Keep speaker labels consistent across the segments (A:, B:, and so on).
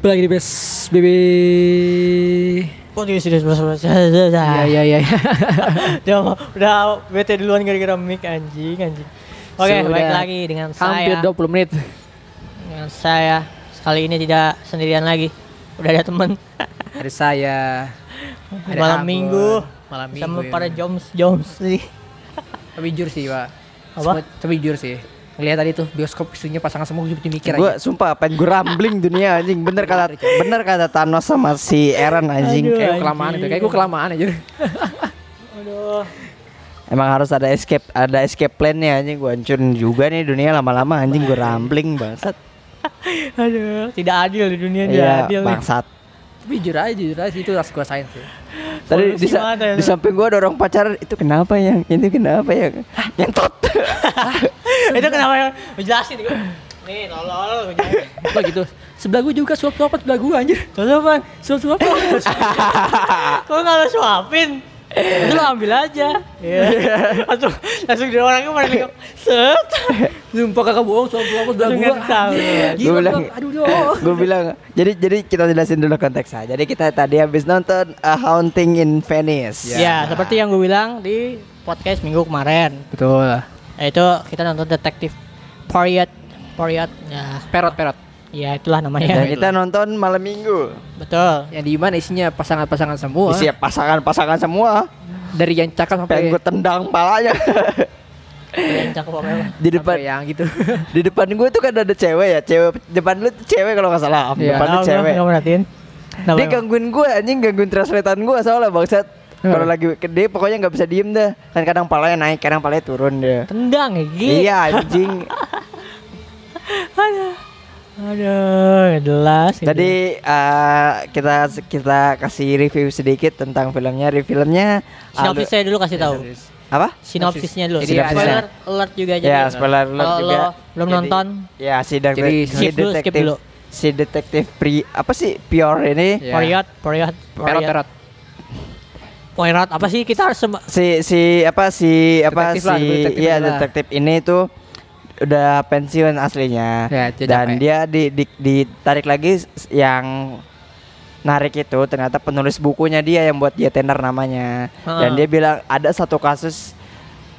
A: Balik lagi di Best BB.
B: Podcast serius bersama saya.
A: Ya ya ya. ya.
B: Udah, udah bete duluan gara-gara mic anjing, anjing. Oke,
A: Sudah
B: balik lagi dengan
A: Hampir
B: saya.
A: 20 menit.
B: Dengan saya. Sekali ini tidak sendirian lagi. Udah ada teman.
A: Ada saya. Ada
B: malam
A: Abon.
B: Minggu
A: Malam Minggu.
B: sama
A: ya.
B: para Joms Joms sih.
A: Tapi jujur sih, Pak.
B: Apa?
A: Semua- Tapi jujur sih. Ngelihat tadi tuh bioskop isunya pasangan semua gue jadi mikir aja.
C: gue sumpah pengen gue rambling dunia anjing bener kata bener kata Thanos sama si Eren anjing
A: Kayak gue kelamaan itu, kayak gue kelamaan aja.
B: Aduh.
C: emang harus ada escape ada escape plan-nya anjing gue hancurin juga nih dunia lama-lama anjing gue rambling bangsat
B: Aduh, tidak adil di dunia tidak
C: iya
B: adil. nih.
C: bangsat
A: Tapi jujur aja, jujur aja itu harus gue sayang sih.
C: tadi
B: Polusi
C: di, sa-
B: mata ya,
C: di
B: tuh.
C: samping gue dorong pacaran itu kenapa yang itu kenapa ya? yang nyentot
B: Itu kenapa yang jelasin gue. Nih, tolol.
A: Apa gitu. Sebelah gue juga suap-suapan sebelah gue anjir.
B: Tolol apaan?
A: Suap-suapan.
B: Kok nggak lo suapin? Itu lo ambil aja. Iya. langsung langsung dia orangnya pada nengok. Set.
A: Sumpah kakak bohong, suap-suapan sebelah
B: Langsung
A: gue.
B: ngetel.
A: Gila,
C: Gua bilang-
A: gua- aduh doh.
C: gue bilang jadi jadi kita jelasin dulu konteksnya jadi kita tadi habis nonton A Haunting in Venice
B: Ya, seperti yang gue bilang di podcast minggu kemarin.
A: Betul.
B: Yaitu kita nonton detektif Poirot. Poirot. Ya,
A: Perot-perot.
B: ya itulah namanya.
C: dan kita nonton malam minggu
B: Betul.
A: Yang Ya, di mana isinya pasangan-pasangan semua.
C: isi pasangan-pasangan semua
A: dari yang cakep sampai
C: pengen gue tendang palanya
B: Yang cakep apa emang?
C: di depan
A: sampai yang gitu.
C: di depan gue tuh kan ada cewek ya cewek depan lu tuh cewek kalau nggak salah
A: Iya.
C: depan lu
B: Tahu,
C: cewek
B: nggak merhatiin. Kenapa
C: dia
B: emang?
C: gangguin gue anjing gangguin translatean gue soalnya bangsat
A: Hmm.
C: kalau lagi gede pokoknya nggak bisa diem dah kan kadang palanya naik kadang palanya turun dia
B: tendang ya, Gi.
C: iya anjing
B: Aduh. Aduh, nggak jelas. nggak jelas.
C: tadi eh, kita kita kasih review sedikit tentang filmnya review filmnya alu-
B: sinopsis saya dulu kasih tahu.
C: apa
B: Sinopsisnya dulu.
C: Jadi Iya, Sinopsisnya.
B: spoiler alert juga jadi.
C: ya spoiler alert
B: Kalau
C: juga
B: lo belum
C: Jadi-
B: nonton,
C: ya si, dek-
A: Jadi,
C: si
B: skip dulu, skip
C: detektif
B: dulu.
C: si detektif pri apa sih Pior ini
A: Iya.
B: Poirot, Poirot, Poirot,
A: Perot-perot.
B: Poirot. Apa sih kita harus sema-
C: si si apa si apa
A: Detektif
C: si
A: lah, detektif
C: iya
A: lah.
C: detektif ini tuh udah pensiun aslinya
A: Ya, dia
C: dan
A: capek.
C: dia di, di- ditarik lagi s- yang narik itu ternyata penulis bukunya dia yang buat dia tender namanya
B: Ah.
C: dan dia bilang ada satu kasus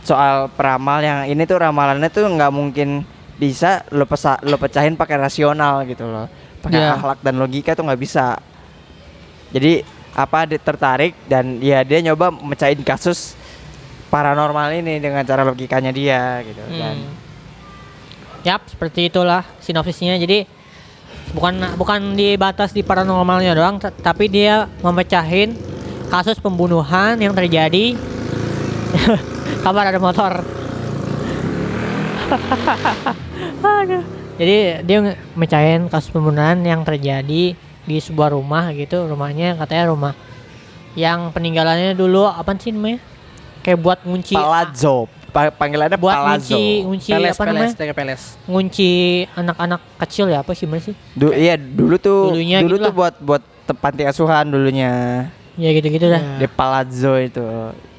C: soal peramal yang ini tuh ramalannya tuh nggak mungkin bisa lo pesa, lo pecahin pakai rasional gitu loh pakai
A: Ya.
C: akhlak dan logika tuh nggak bisa jadi apa di- tertarik dan ya dia nyoba mecahin kasus paranormal ini dengan cara logikanya dia gitu dan
B: Hmm. Yap, seperti itulah sinopsisnya. Jadi bukan bukan dibatas di paranormalnya doang, t- tapi dia memecahin kasus pembunuhan yang terjadi. Kabar ada motor. Aduh. Jadi dia nge- mecahin kasus pembunuhan yang terjadi di sebuah rumah gitu. Rumahnya katanya rumah yang peninggalannya dulu apa sih namanya? Kayak buat ngunci
C: palazzo Pa- panggilannya
B: buat
C: palazzo
B: ngunci ngunci
A: Peles,
B: apa
A: peles,
B: namanya?
A: tega peles.
B: ngunci anak-anak kecil ya apa sih gimana sih?
C: Du- iya dulu tuh
B: Dulunya
C: dulu
B: gitu
C: tuh buat buat te- panti asuhan dulunya
B: Ya gitu-gitu dah.
C: di palazzo itu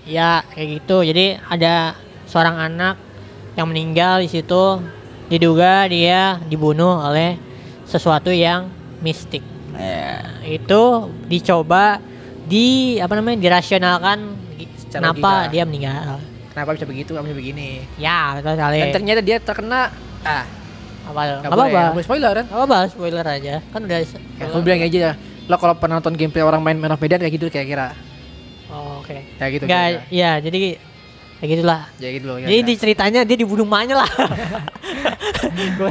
B: Ya kayak gitu. Jadi ada seorang anak yang meninggal di situ diduga dia dibunuh oleh sesuatu yang mistik. Nah, Itu dicoba di apa namanya dirasionalkan gi-
A: Secara
B: kenapa
A: logika.
B: dia meninggal.
A: Kenapa bisa begitu? Kenapa bisa begini?
B: Ya betul sekali.
A: Dan ternyata dia terkena ah,
B: Apa
A: nggak
B: apa
A: boleh,
B: apa?
A: nggak boleh spoiler kan?
B: Apa spoiler aja. Kan udah
A: Ya, aku bilang aja lo kalau pernah nonton gameplay orang main Man of Medan kayak gitu kayak kira.
B: Oh, oke.
A: Kayak gitu.
B: Nggak,
A: kira-kira.
B: ya jadi kayak gitulah.
A: Ya gitu loh.
B: Jadi di ceritanya dia dibunuh emaknya lah.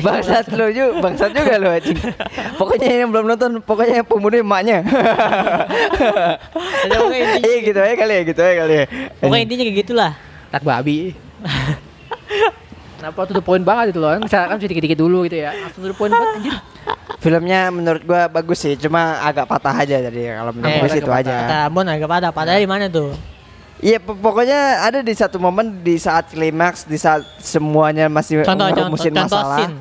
C: bangsat lo juga bangsat juga lo anjing pokoknya yang belum nonton pokoknya yang pembunuh emaknya
B: Jadi pokoknya intinya,
C: iya gitu aja kali ya gitu aja kali ya
B: pokoknya intinya kayak gitu gitulah.
A: tak babi. Kenapa tuh the point banget itu loh? Kan Bisa kan bisa dikit-dikit dulu gitu ya. Langsung tuh the point banget anjir.
C: filmnya menurut gua bagus sih cuma agak patah aja tadi ya, kalau menurut
B: Eh,
C: gua sih itu
A: agak
B: Kata
C: aja
B: Bon agak pada, padahal di mana tuh?
C: Iya po- pokoknya ada di satu momen di saat klimaks di saat semuanya masih
B: Contoh contoh
C: ngerumusin
B: contoh
C: masalah.
B: scene.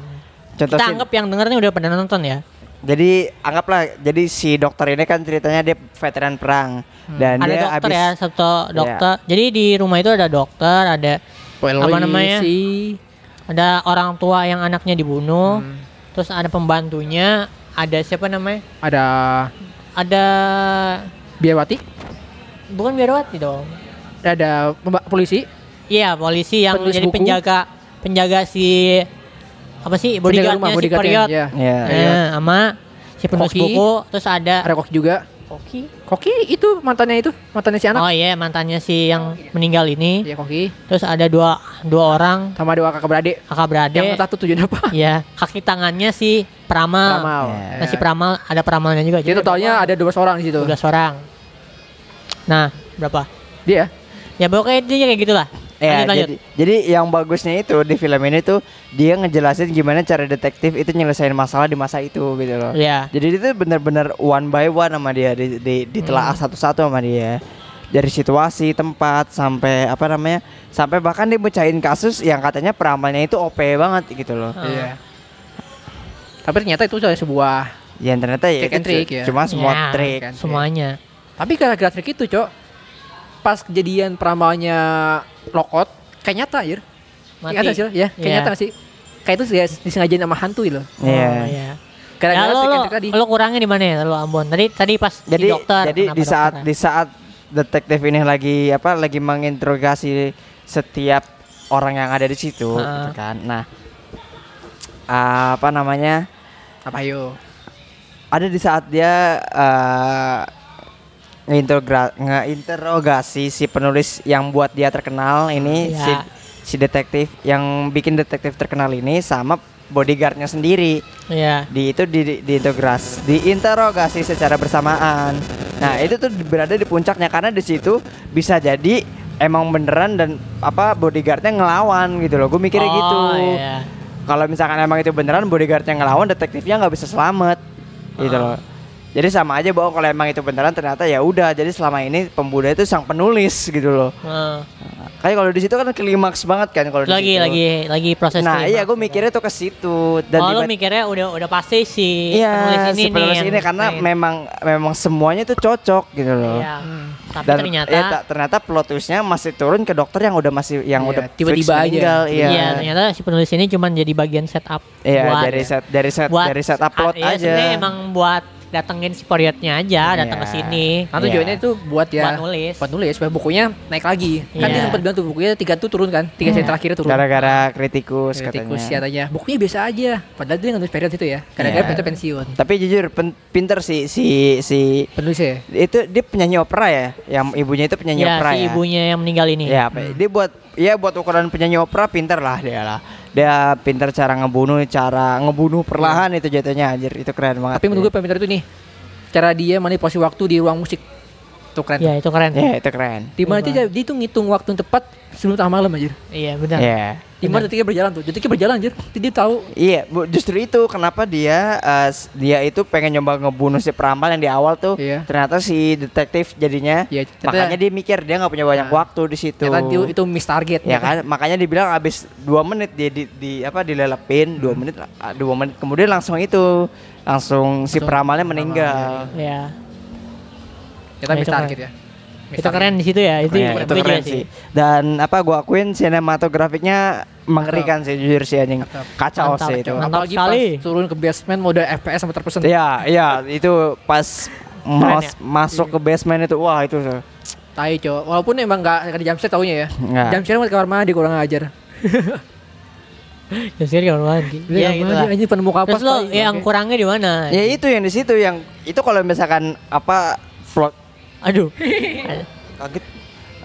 C: Contoh
B: Kita
C: scene.
B: anggap yang dengernya udah pada nonton ya.
C: Jadi anggaplah jadi si dokter ini kan ceritanya dia veteran perang dan
B: ada
C: dia Iya.
B: dokter
C: abis
B: ya, satu dokter. Jadi di rumah itu ada dokter, ada apa namanya?
A: Si
C: Hmm.
B: Ada orang tua yang anaknya dibunuh, terus ada pembantunya, ada siapa namanya?
A: Ada
B: Ada
A: Biawati,
B: bukan Biarawati dong.
A: ada pemba- polisi,
B: Iya, polisi yang
A: Penulis
B: jadi
A: buku.
B: penjaga penjaga si apa sih
A: penjaga rumah,
B: bodyguardnya si
A: bodyguardnya,
B: Periot.
A: iya.
C: Iya.
B: Nah, sama si penulis
A: Koki.
B: buku terus ada
A: Ada Koki juga.
B: Koki.
A: Koki itu mantannya itu, mantannya si anak.
B: Oh iya, mantannya si yang meninggal ini.
A: Iya Koki,
B: Terus ada dua dua orang
A: sama dua kakak beradik.
B: kakak beradik.
A: Yang entah tuh tujuan apa?
B: Iya, kaki tangannya si Pramal.
A: Ramal.
C: Iya.
B: Nah, si Pramal ada Pramalnya juga.
A: Jadi totalnya ada 12 orang di situ.
B: 12 orang. Nah, berapa?
A: Dia.
B: Ya pokoknya intinya kayak gitulah.
A: Iya,
C: Ya,
B: Lanjut, lanjut.
C: jadi, jadi yang bagusnya itu di film ini tuh dia ngejelasin gimana cara detektif itu nyelesain masalah di masa itu gitu loh.
B: Iya.
C: Jadi itu bener-bener one by one sama dia di, di, ditelaah
B: Hmm.
C: satu-satu sama dia dari situasi tempat sampai apa namanya sampai bahkan dia mecahin kasus yang katanya peramalnya itu OP banget gitu loh.
B: Hmm. Ah.
A: Iya. Tapi ternyata itu adalah sebuah
C: Ya ternyata ya
A: Trick and
C: kan
A: trick,
C: cu-
A: ya.
C: cuma semua
B: Iya,
C: trik.
A: kan.
B: Semuanya.
A: Tapi gara-gara trik itu, Cok. Pas kejadian peramalnya lokot, kayak nyata, Yur. Kayak
B: Mati.
A: nyata sih, lo, ya. Kayak
B: Iya.
A: nyata sih. Kayak itu ya, disengajain sama hantu loh.
B: Oh,
C: Iya.
B: iya. Ya,
A: Gara-gara
B: lo,
A: trik
B: lo,
A: and trick tadi.
B: lo kurangnya di mana ya? Lo Ambon. Tadi tadi pas
C: Jadi
B: si dokter. ya?
C: jadi
B: kenapa
C: di saat
B: dokter? kan?
C: di saat detektif ini lagi apa lagi menginterogasi setiap orang yang ada di situ
B: Ah.
C: gitu kan. Nah, apa namanya?
A: Apa yo?
C: Ada di saat dia eh, ngeinterogra- ngeinterogasi si penulis yang buat dia terkenal
B: Iya.
C: ini si si detektif yang bikin detektif terkenal ini sama bodyguardnya sendiri
B: Iya.
C: di itu di, di- diintegras- diinterogasi secara bersamaan. Nah
B: Iya.
C: itu tuh berada di puncaknya karena di situ bisa jadi emang beneran dan apa bodyguardnya ngelawan gitu loh. Gue mikirnya
B: Oh,
C: gitu.
B: Iya.
C: Kalau misalkan emang itu beneran bodyguardnya ngelawan, detektifnya nggak bisa selamat
B: Ah.
C: gitu loh. Jadi sama aja bahwa kalau emang itu beneran ternyata ya udah. Jadi selama ini pembunuh itu sang penulis gitu loh.
B: Heeh.
C: Kayak kalau di situ kan klimaks banget kan kalau di
B: lagi
C: situ.
B: lagi lagi proses
C: Nah
B: kelima.
C: iya gue mikirnya tuh ke situ dan
B: oh, lo
C: tiba-
B: mikirnya udah udah pasti si
C: Iya,
B: penulis ini
C: si penulis
B: nih
C: ini
B: yang-
C: karena
B: yang-
C: memang memang semuanya tuh cocok gitu loh.
B: Iya. Tapi
C: Dan
B: ternyata
C: ya, ta- ternyata plot twist-nya masih turun ke dokter yang udah masih yang
A: Iya,
C: udah
A: tiba-tiba
C: fix
A: aja.
C: meninggal, Iya.
B: Iya, ternyata si penulis ini cuman jadi bagian setup.
C: Iya,
B: buat- ya.
C: dari set dari set dari set
B: ah,
C: upload
B: iya,
C: aja.
B: sebenarnya emang buat datengin si periodnya aja, datang
C: Iya.
B: ke sini.
A: Nah tujuannya itu buat ya
B: Buat nulis.
A: buat nulis, supaya bukunya naik lagi. Kan
B: Iya.
A: dia sempat bilang tuh bukunya tiga tuh turun kan, tiga seri terakhir turun.
C: Gara-gara kritikus,
A: Kritikus iya.
C: katanya.
A: katanya. Bukunya biasa aja. Padahal dia nulis period itu ya. Gara-gara
C: Iya.
A: period pensiun.
C: Tapi jujur pen- pinter si si si
A: Penulisnya ya.
C: itu dia penyanyi opera ya, yang ibunya itu penyanyi
B: Iya,
C: opera
B: si
C: ya.
B: ibunya yang meninggal ini.
C: Ya, apa- dia buat ya buat ukuran penyanyi opera pinter lah dia lah. Dia pinter cara ngebunuh, cara ngebunuh perlahan itu jatuhnya anjir, itu keren banget.
A: Tapi menurut
B: Iya.
A: gue pemintar itu nih cara dia manipulasi waktu di ruang musik tuh keren.
B: Iya, itu keren.
C: Ya, itu keren.
A: Di mana dia, dia tuh ngitung waktu yang tepat sebelum tengah malam anjir. Ya.
B: Iya, benar.
C: Iya.
A: Di mana detiknya berjalan tuh. Detiknya berjalan anjir. Jadi dia tahu
C: Iya, bu- justru itu kenapa dia eh, s- dia itu pengen nyoba ngebunuh si peramal yang di awal tuh.
A: Iya.
C: Ternyata si detektif jadinya.
A: Iya, ternyata- Nah.
C: makanya dia mikir dia nggak punya banyak waktu di situ.
A: ternyata dia itu miss target.
B: Iya
C: Ya kan, makanya dibilang abis dua menit dia di, di- apa dilelepin dua menit, ah, dua menit kemudian langsung itu langsung si peramalnya meninggal.
B: Iya.
A: Kita
B: Ya,
A: miss
B: itu keren.
A: target ya. Miss
B: Itu
A: target.
B: keren di situ ya. Itu
C: Iya,
B: buat
C: itu
B: gue juga
C: keren sih. Dan apa gua akuin sinematografiknya mengerikan sih jujur sih anjing.
A: Mantap.
C: Kacau
B: Mantap,
C: sih itu.
B: Mantap
A: Apalagi
B: sekali.
A: pas turun ke basement mode FPS sama terpesen.
C: Iya, iya itu pas mas masuk ke basement itu wah itu
A: Tai cowok. Walaupun emang nggak nggak ada jam set taunya ya.
C: Nggak.
A: Jam set emang di kamar mandi kurang ajar.
B: Ya, sih, kamar mandi. Iya, gitu lah.
A: Anjir penemuan kapas.
B: Terus lo
A: tai.
B: yang
A: Oke.
B: kurangnya di mana?
C: ya itu yang di situ yang itu kalau misalkan apa plot
B: Aduh.
C: kaget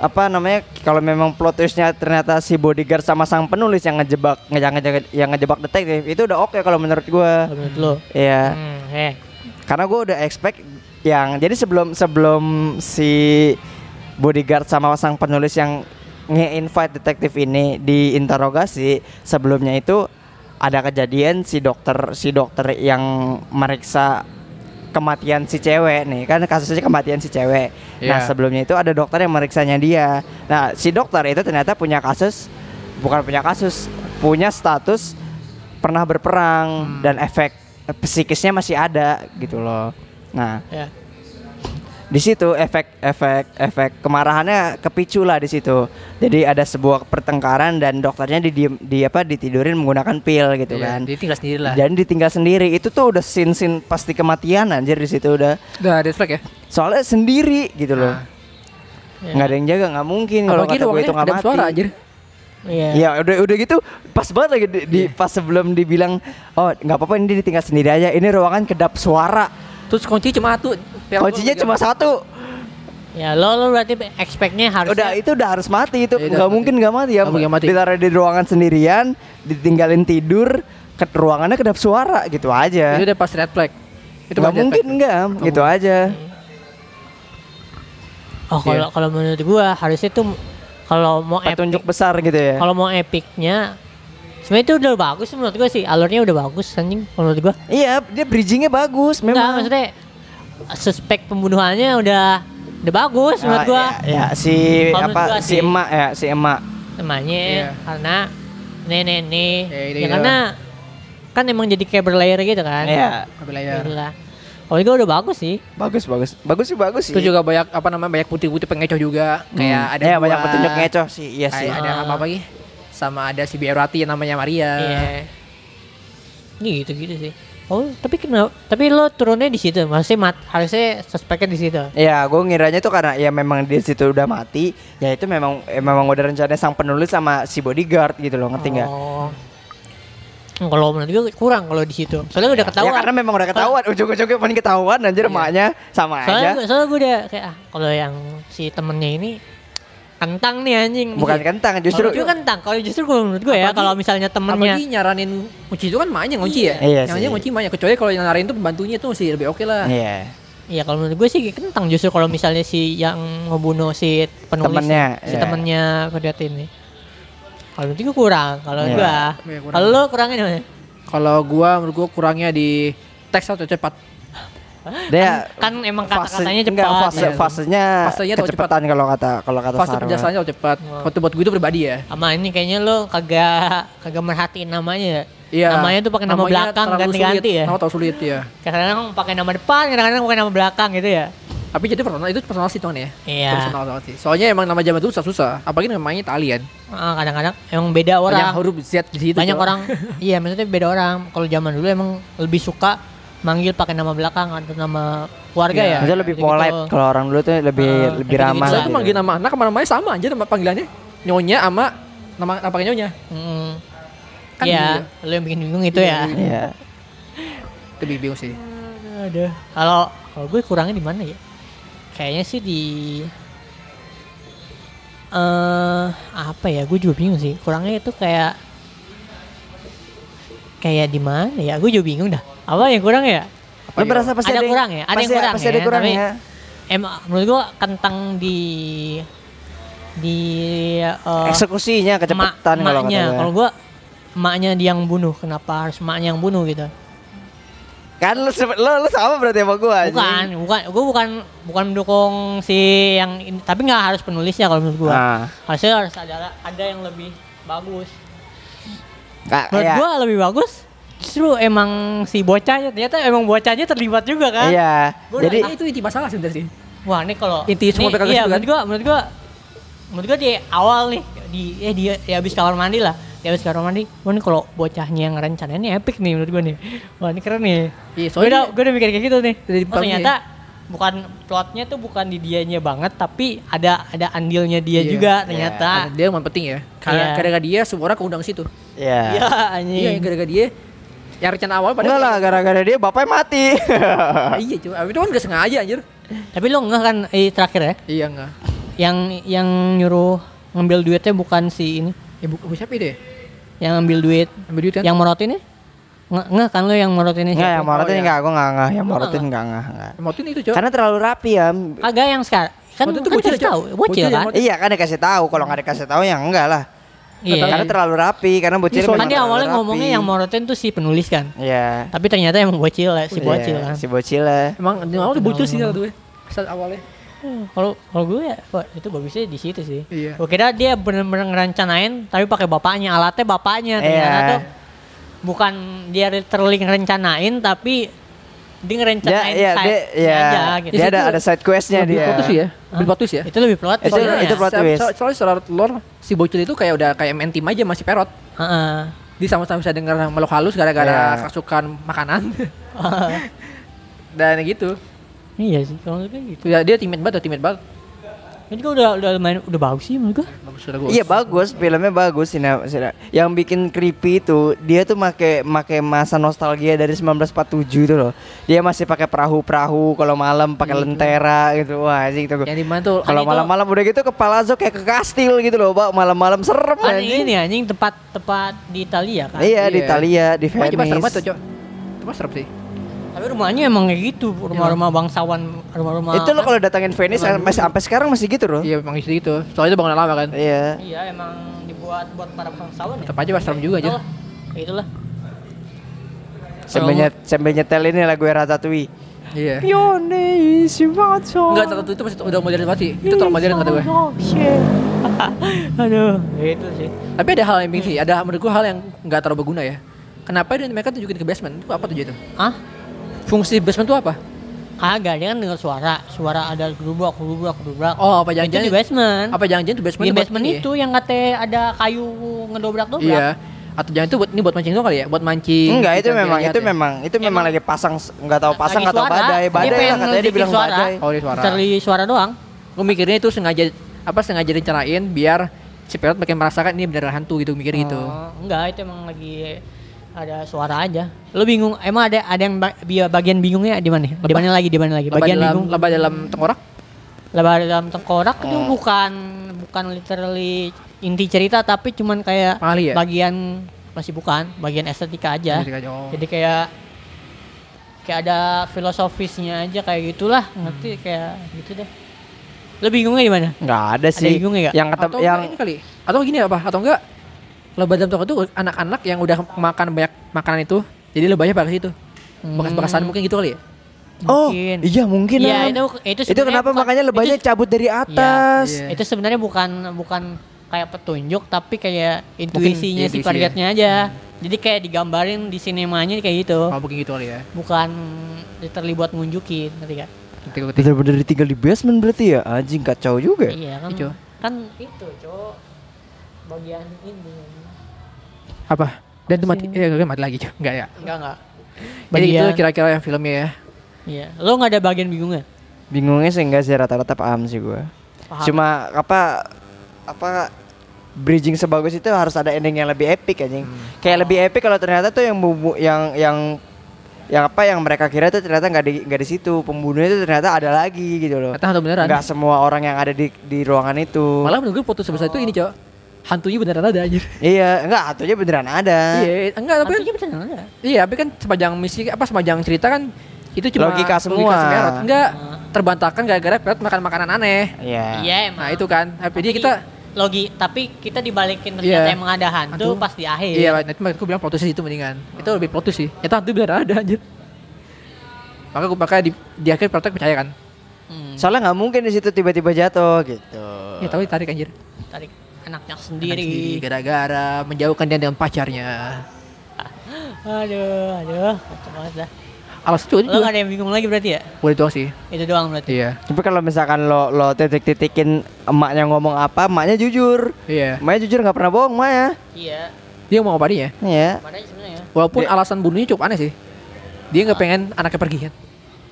C: apa namanya kalau memang plot twistnya ternyata si bodyguard sama sang penulis yang ngejebak yang ngejebak, yang ngejebak detektif itu udah oke kalau menurut gua
B: Menurut lo.
C: ya
B: Hmm, eh.
C: karena gua udah expect yang jadi sebelum sebelum si bodyguard sama sang penulis yang nge-invite detektif ini diinterogasi sebelumnya itu ada kejadian si dokter si dokter yang meriksa kematian si cewek nih kan kasusnya kematian si cewek. Nah
A: Iya.
C: sebelumnya itu ada dokter yang meriksanya dia. Nah si dokter itu ternyata punya kasus bukan punya kasus punya status pernah
A: Hmm.
C: berperang dan efek psikisnya masih ada gitu loh. Nah
B: Ya.
C: di situ efek efek efek kemarahannya kepicu lah di situ. Jadi ada sebuah pertengkaran dan dokternya di di apa ditidurin menggunakan pil gitu
A: Iya,
C: kan.
A: Dia tinggal sendiri lah.
C: Dan ditinggal sendiri itu tuh udah sin sin pasti kematian anjir di situ udah.
A: Udah red flag ya.
C: Soalnya sendiri gitu loh.
A: Nah.
B: Iya.
C: Nggak ada yang jaga nggak mungkin kalau
A: Apalagi
C: kata gue
A: ruangannya
C: itu nggak
A: ada
C: mati.
A: suara anjir.
B: Iya.
C: Ya udah udah gitu pas banget lagi di, di- pas sebelum dibilang oh nggak apa-apa ini ditinggal sendiri aja ini ruangan kedap suara
A: Terus kunci cuma satu. Pelkon
C: kuncinya
A: juga.
C: cuma satu
B: Ya, lo lo berarti expect-nya harus
C: udah itu udah harus mati itu
A: Iya, udah
C: nggak
A: mati.
C: mungkin nggak mati ya
A: Nggak mungkin mati.
C: ditaruh di ruangan sendirian ditinggalin tidur ke ruangannya kedap suara gitu
A: Itu
C: aja
A: udah pas red flag. Iya, Itu
C: nggak
A: bukan red
C: mungkin
A: flag.
C: enggak gitu aja
B: Oh, kalau kalau menurut gua harusnya tuh kalau mau
C: Iya. petunjuk besar gitu ya
B: Kalau mau epicnya sebenarnya itu udah bagus menurut gue sih. Alurnya udah bagus anjing menurut gue.
C: iya dia bridgingnya bagus
B: Enggak,
C: memang
B: maksudnya suspek pembunuhannya udah udah bagus menurut
C: Ah,
B: gua.
C: ya, ya, si
B: Kalau menurut
C: apa
B: gua
C: si
B: sih.
C: emak ya si emak
B: Namanya
A: Iya.
B: karena nenek nih.
A: Iya, iya,
B: ya
A: iya.
B: karena kan emang jadi kayak berlayer gitu kan.
C: ya
A: Tapi lah ya.
B: Gitu lah. Menurut gue udah bagus sih.
C: bagus bagus bagus sih bagus sih
A: Itu juga banyak apa namanya banyak putih-putih pengecoh juga. Kayak
C: Hmm.
A: ada
C: ya,
A: dua-
C: banyak petunjuk ngecoh sih iya sih
A: Kayak ada apa apa lagi? Sama ada si Biarati yang namanya Maria.
B: Iya. Ini gitu-gitu sih. Oh, tapi kenapa? Tapi lo turunnya di situ, maksudnya mat, harusnya suspeknya di situ.
C: Ya, gue ngiranya tuh karena ya memang di situ udah mati, ya itu memang eh, memang udah rencananya sang penulis sama si bodyguard gitu loh, ngerti nggak?
B: Oh. Kalau menurut gue kurang kalau di situ. Soalnya udah ketahuan.
C: Ya karena memang udah ketahuan, ujung-ujungnya paling ketahuan anjir
A: Iya.
C: emaknya sama
B: soalnya,
C: aja.
B: gua- soalnya gue udah kayak ah, kalau yang si temennya ini kentang nih anjing.
C: Bukan kentang,
B: Kalau
C: justru
B: dia kentang, kalau justru gue menurut gue ya
A: Apalagi-
B: kalau misalnya
A: Apalagi
B: temennya
A: nyaranin kunci itu kan maknya kunci ya.
C: Iya
A: yang
C: sih.
A: aja kunci maknya kecuali kalau yang nyaranin tuh pembantunya tuh masih lebih oke lah.
C: Iya,
B: Iya kalau menurut gue sih kentang justru kalau misalnya si yang ngebunuh si penulis
C: Temennya,
B: si
C: iya.
B: temennya Kodrat ini. Kalau menurut gue kurang, kalau
C: Iya.
B: gua
A: Iya, kurang.
B: kalau lo kurangnya di mana?
A: Kalau gua menurut gua kurangnya di teks atau cepat.
C: dia
B: Kan emang
C: Iya. fase-
B: kata-katanya cepat.
C: enggak, fase,
A: Iya.
C: fasenya,
A: Fasenya tuh
C: kecepatan kalau kata kalau kata
A: Fase
C: Sarwa.
A: penjelasannya atau cepat.
B: Wow.
A: Waktu buat gua itu pribadi ya.
B: Sama ini kayaknya lo kagak kagak merhatiin namanya.
A: Iya.
B: Namanya tuh pakai nama
A: Namanya
B: belakang
A: terlalu
B: ganti-ganti
A: sulit.
B: ya.
A: Nama terlalu sulit ya.
B: Kadang-kadang pakai nama depan, kadang-kadang pakai nama belakang gitu ya.
A: Tapi jadi personal itu personal sih tuan ya.
B: Iya.
A: Personal banget sih. Soalnya emang nama zaman dulu susah susah. Apalagi namanya Italian.
B: Ah, kadang-kadang emang beda orang.
A: Banyak huruf Z di situ.
B: Banyak
A: Cok.
B: orang iya maksudnya beda orang. Kalau zaman dulu emang lebih suka manggil pakai nama belakang kan, atau nama keluarga
A: Iya.
B: ya.
C: Maksudnya lebih
B: Gitu-gitu.
C: polite kalau orang dulu tuh lebih
B: Ah,
C: lebih
B: kayak
C: ramah.
B: gitu-gitu.
A: Saya tuh
C: gitu.
A: manggil nama anak sama namanya sama aja nama panggilannya. Nyonya sama nama nama pakai nyonya.
B: Mm.
A: Kan
B: iya,
A: gitu
B: lo yang bikin bingung itu ya.
C: Iya.
A: Itu bikin bingung sih.
B: Aduh. Kalau kalau gue kurangnya di mana ya? Kayaknya sih di eh apa ya? Gue juga bingung sih. Kurangnya itu kayak kayak di mana ya? Gue juga bingung dah. Apa yang kurang ya?
C: Lu berasa pasti
B: Ada
C: yang-
B: kurang ya? Ada yang
C: pasti-
B: kurang
C: pasti ada
B: ya,
C: kurang
B: tapi-
C: ya.
B: Emang menurut gua kentang di di eh,
C: Eksekusinya
B: emak-
C: kecepatan kalau kata
B: emaknya.
C: gue.
B: Kalau gua emaknya dia yang bunuh. Kenapa harus emaknya yang bunuh gitu?
C: Kan lu, se- lu, lu sama berarti sama gua anjing.
B: Bukan, bukan. Gue bukan bukan mendukung si yang ini, tapi nggak harus penulisnya kalau menurut gua.
C: Ah.
B: Harusnya harus ada ada yang lebih bagus.
C: Ka-
B: Menurut
C: iya.
B: gua lebih bagus. Justru emang si bocahnya ternyata emang bocahnya terlibat juga kan.
C: Iya.
A: Gua
C: Jadi
A: nanya, itu inti masalah sebenarnya sih.
B: Wah ini kalau
A: Inti semua
B: ini-
A: PKK
B: iya,
A: gitu kan?
B: menurut gua menurut gua menurut gua di awal nih di eh dia di habis kamar mandi lah di habis kamar mandi wah ini kalau bocahnya yang rencananya ini epic nih menurut gua nih wah ini keren nih
A: Iya,
B: gue udah
A: soalnya
B: gua udah mikir kayak gitu nih
A: Dari
B: oh,
A: depan
B: ternyata bukan plotnya tuh bukan di dianya banget tapi ada ada andilnya dia
A: Iya.
B: juga ternyata
A: Karena dia yang paling penting ya. Karena
B: Iya.
A: gara-gara dia semua orang keundang situ.
C: Iya.
B: iya
A: Iya,
B: anjing
A: gara-gara dia yang rencana awal
C: Enggak
A: padahal
C: lah gara-gara dia bapaknya mati.
A: Ah, iya cuma itu kan gak sengaja anjir.
B: tapi lo enggak kan eh, terakhir ya
A: Iya enggak.
B: yang yang nyuruh ngambil duitnya bukan si ini
A: Ya bu, bu siapa deh?
B: yang ngambil duit
A: Ambil duit kan?
B: yang morotin ya nggak nggak kan lo yang morotin ini
C: Enggak yang morotin
A: Oh, iya.
C: enggak, gua enggak enggak yang
B: Lu
C: morotin enggak enggak enggak.
A: Motin itu cok.
C: Karena terlalu rapi ya.
B: Agak yang sekarang kan
A: Waktu itu
B: kan
A: bocil,
B: kasih
A: Cok.
B: tahu bocil
A: Bocil
B: kan.
A: yang-
C: Iya kan dikasih tahu kalau enggak dikasih tahu ya enggak lah.
B: Iya.
C: Karena terlalu rapi karena bocil
B: Kan
C: memang
B: dia
C: terlalu
B: awalnya
C: rapi.
B: ngomongnya yang morotin tuh si penulis kan.
C: Iya.
B: Tapi ternyata emang bocil ya, si
C: Iya,
B: bocil kan.
C: Si bocil lah.
A: Emang di awal tuh bocil sih tuh gue. Saat awalnya.
B: Hmm, Kalau kalau gue ya wah, itu bagusnya di situ sih.
A: Iya.
B: Gue kira dia bener-bener ngerencanain tapi pakai bapaknya, alatnya bapaknya ternyata
C: Iya.
B: tuh bukan dia literally ngerencanain tapi dia ngerencanain
C: ya, dia,
B: side
C: ya,
B: aja gitu.
C: dia ada
A: Itu
C: ada side questnya
A: Lebih
C: Iya, dia.
A: plot twist ya. Lebih plot twist ya.
B: Itu lebih plot
C: Itu-
B: soalnya.
C: itu plot
A: se-
C: twist.
A: so- Soalnya secara lore si bocil itu kayak udah kayak main tim aja masih perot.
B: Heeh.
A: Dia sama-sama bisa dengar makhluk halus gara-gara
C: Iya.
A: kerasukan makanan. Dan gitu.
B: Iya sih kalau kayak gitu.
A: Ya, dia timid banget, timid banget.
B: Ini juga udah udah lumayan udah bagus sih menurut gua.
A: Bagus sudah gue.
C: Iya bagus, filmnya bagus sina, sina- Yang bikin creepy itu dia tuh make make masa nostalgia dari 1947 itu loh. Dia masih pakai perahu-perahu kalau malam pakai lentera gitu. Wah, anjing itu. gua-
A: Yang di mana Iya. tuh?
C: Kalau
B: itu-
C: malam-malam udah gitu kepala Zo kayak ke kastil gitu loh, Bang. Malam-malam serem
B: Kan
C: anjing.
B: ini anjing tepat tepat di Italia kan.
C: Iya, di
A: Iya.
C: Italia, di
A: Wah, coba serem banget tuh,
C: Venice.
A: Cok. Coba serem sih.
B: Tapi rumahnya emang kayak gitu, rumah-rumah bangsawan, rumah-rumah.
C: Itu lo kalau datangin Venice sampai sampai sekarang masih gitu loh.
A: Iya, emang gitu gitu. Soalnya itu bangunan lama kan.
C: Iya.
B: Iya, emang dibuat buat para bangsawan ya.
A: Tetap aja Wah, serem juga aja.
B: Itulah. Itulah.
C: Sambil, nyet- sambil nyetel ini lagu Ratatouille.
A: Iya.
C: Pione Shimatsu.
A: Enggak, tahu itu masih udah modern banget sih. Itu terlalu modern kata gue.
B: Aduh, ya itu sih.
A: Tapi ada hal yang bikin sih, ada menurut gue hal yang nggak terlalu berguna ya. Kenapa dia mereka tunjukin ke basement? Itu apa tuh itu?
B: Ah,
A: Fungsi basement itu apa?
B: kagak dia kan dengar suara, suara ada gerubak, gerubak, gerubak.
A: Oh, apa
B: itu
A: jangan-jangan
B: di basement.
A: Apa jangan-jangan itu basement?
B: Di
A: tuh buat
B: basement
A: ini ya?
B: itu yang katanya ada kayu ngedobrak-dobrak.
A: Iya. Atau jangan itu buat ini buat mancing doang kali ya? Buat mancing.
C: Enggak, itu
A: ikan
C: memang
A: lihat
C: itu
A: ya?
C: memang itu memang lagi pasang nggak tahu
B: Lagi
C: pasang atau
B: suara,
C: badai,
B: dia
C: badai
B: pengen
C: lah katanya
B: nunjukin
C: dibilang
B: suara.
C: badai.
A: Oh, di suara.
B: Cari suara doang.
A: Gue mikirnya itu sengaja apa sengaja rencanain biar si pilot makin merasakan ini beneran hantu gitu mikir gitu.
B: Oh, enggak, itu emang lagi ada suara aja. Lu bingung, emang ada ada yang ba- bi- bagian bingungnya di mana? Di
A: Lebah.
B: mana lagi? Di mana lagi?
A: Lebah
B: Bagian
A: dalam
B: bingung.
A: lebah dalam tengkorak.
B: Lebar dalam tengkorak itu
C: Eh.
B: bukan bukan literally inti cerita tapi cuman kayak
C: Ah,
A: Pali
C: iya.
A: ya?
B: bagian masih bukan, bagian estetika aja.
A: Estetika aja, oh.
B: Jadi kayak kayak ada filosofisnya aja kayak gitulah,
C: Hmm.
B: ngerti kayak gitu deh. Lu bingungnya di mana?
C: Enggak ada sih.
B: bingung ya, Kak?
C: yang kata
A: Atau
C: yang
A: yang ini kali. Atau gini apa? Atau enggak lebah dalam tengkorak itu anak-anak yang udah makan banyak makanan itu. Jadi lebahnya pakai situ. Bekas-bekasan mungkin gitu kali ya.
C: Oh,
B: Mungkin.
C: iya mungkin
B: Iya,
C: Am.
B: itu itu
C: Itu
B: sebenarnya
C: kenapa
B: bukan-
C: makanya lebahnya
B: itu-
C: cabut dari atas.
A: Iya.
B: Itu sebenarnya bukan bukan kayak petunjuk tapi kayak intuisinya
A: intuisi
B: si
A: ya. Hmm.
B: targetnya aja. Jadi kayak digambarin di sinemanya kayak gitu.
A: Oh, mungkin gitu kali ya.
B: Bukan literally buat ngunjukin, ngerti gak?
A: Nanti gue
C: Bener-bener ditinggal di basement berarti ya? Anjing kacau juga. ya.
B: Iya kan.
A: Ijo.
B: Kan itu, Cok. Bagian ini.
A: apa? Dan itu mati, eh enggak mati lagi cuy, enggak ya.
B: Enggak enggak.
A: Jadi itu
B: Bagian
A: kira-kira yang filmnya ya.
B: Iya. Lo enggak ada bagian bingungnya?
C: Bingungnya sih enggak sih rata-rata paham sih gua.
B: Paham.
C: Cuma apa apa bridging sebagus itu harus ada ending yang lebih epic anjing. Kayak lebih epic kalau ternyata tuh yang bubu- yang yang yang apa yang mereka kira tuh ternyata nggak di nggak di situ pembunuhnya itu ternyata ada lagi gitu loh.
A: Kata hantu beneran.
C: Nggak semua orang yang ada di di ruangan itu.
A: Malah menurut gue foto sebesar itu ini cok. Hantunya beneran ada anjir.
C: Iya, enggak hatunya beneran ada.
A: Iya, enggak tapi kan
B: Hantunya beneran ada.
A: iya, tapi kan sepanjang misi apa sepanjang cerita kan itu cuma
C: Logika semua.
A: si Merot. Enggak terbantahkan gara-gara Perot makan makanan aneh.
C: Iya.
B: Iya,
A: Nah,
B: emang.
A: itu kan. Jadi kita
B: logi tapi kita dibalikin ternyata
A: Iya.
B: emang ada hantu
A: Hantu.
B: pas di akhir. Oh.
A: Iya, itu makanya gue bilang protus itu mendingan. Itu lebih protus sih. Itu hantu beneran ada anjir. Maka gue pakai di, di akhir Perot percaya kan.
B: Hmm,
C: Soalnya nggak mungkin di situ tiba-tiba jatuh gitu.
A: Ya tahu ditarik anjir.
B: tarik anaknya
A: Makan
B: sendiri.
A: sendiri kan. gara-gara menjauhkan dia dengan pacarnya.
B: Aduh, aduh, kacau banget dah.
A: Alas cuy.
B: Lo gak ada yang bingung lagi berarti ya?
A: Boleh doang sih.
B: Itu doang berarti.
A: Iya.
C: Tapi kalau misalkan lo lo titik-titikin emaknya ngomong apa, emaknya jujur.
A: Iya.
C: Emaknya jujur nggak pernah bohong, emaknya.
B: Iya.
A: Dia mau apa dia?
C: Iya.
B: Mana sebenarnya?
A: Walaupun
C: Dia-
A: alasan bunuhnya cukup aneh sih. Dia
B: Ah.
A: nggak pengen anaknya pergi kan?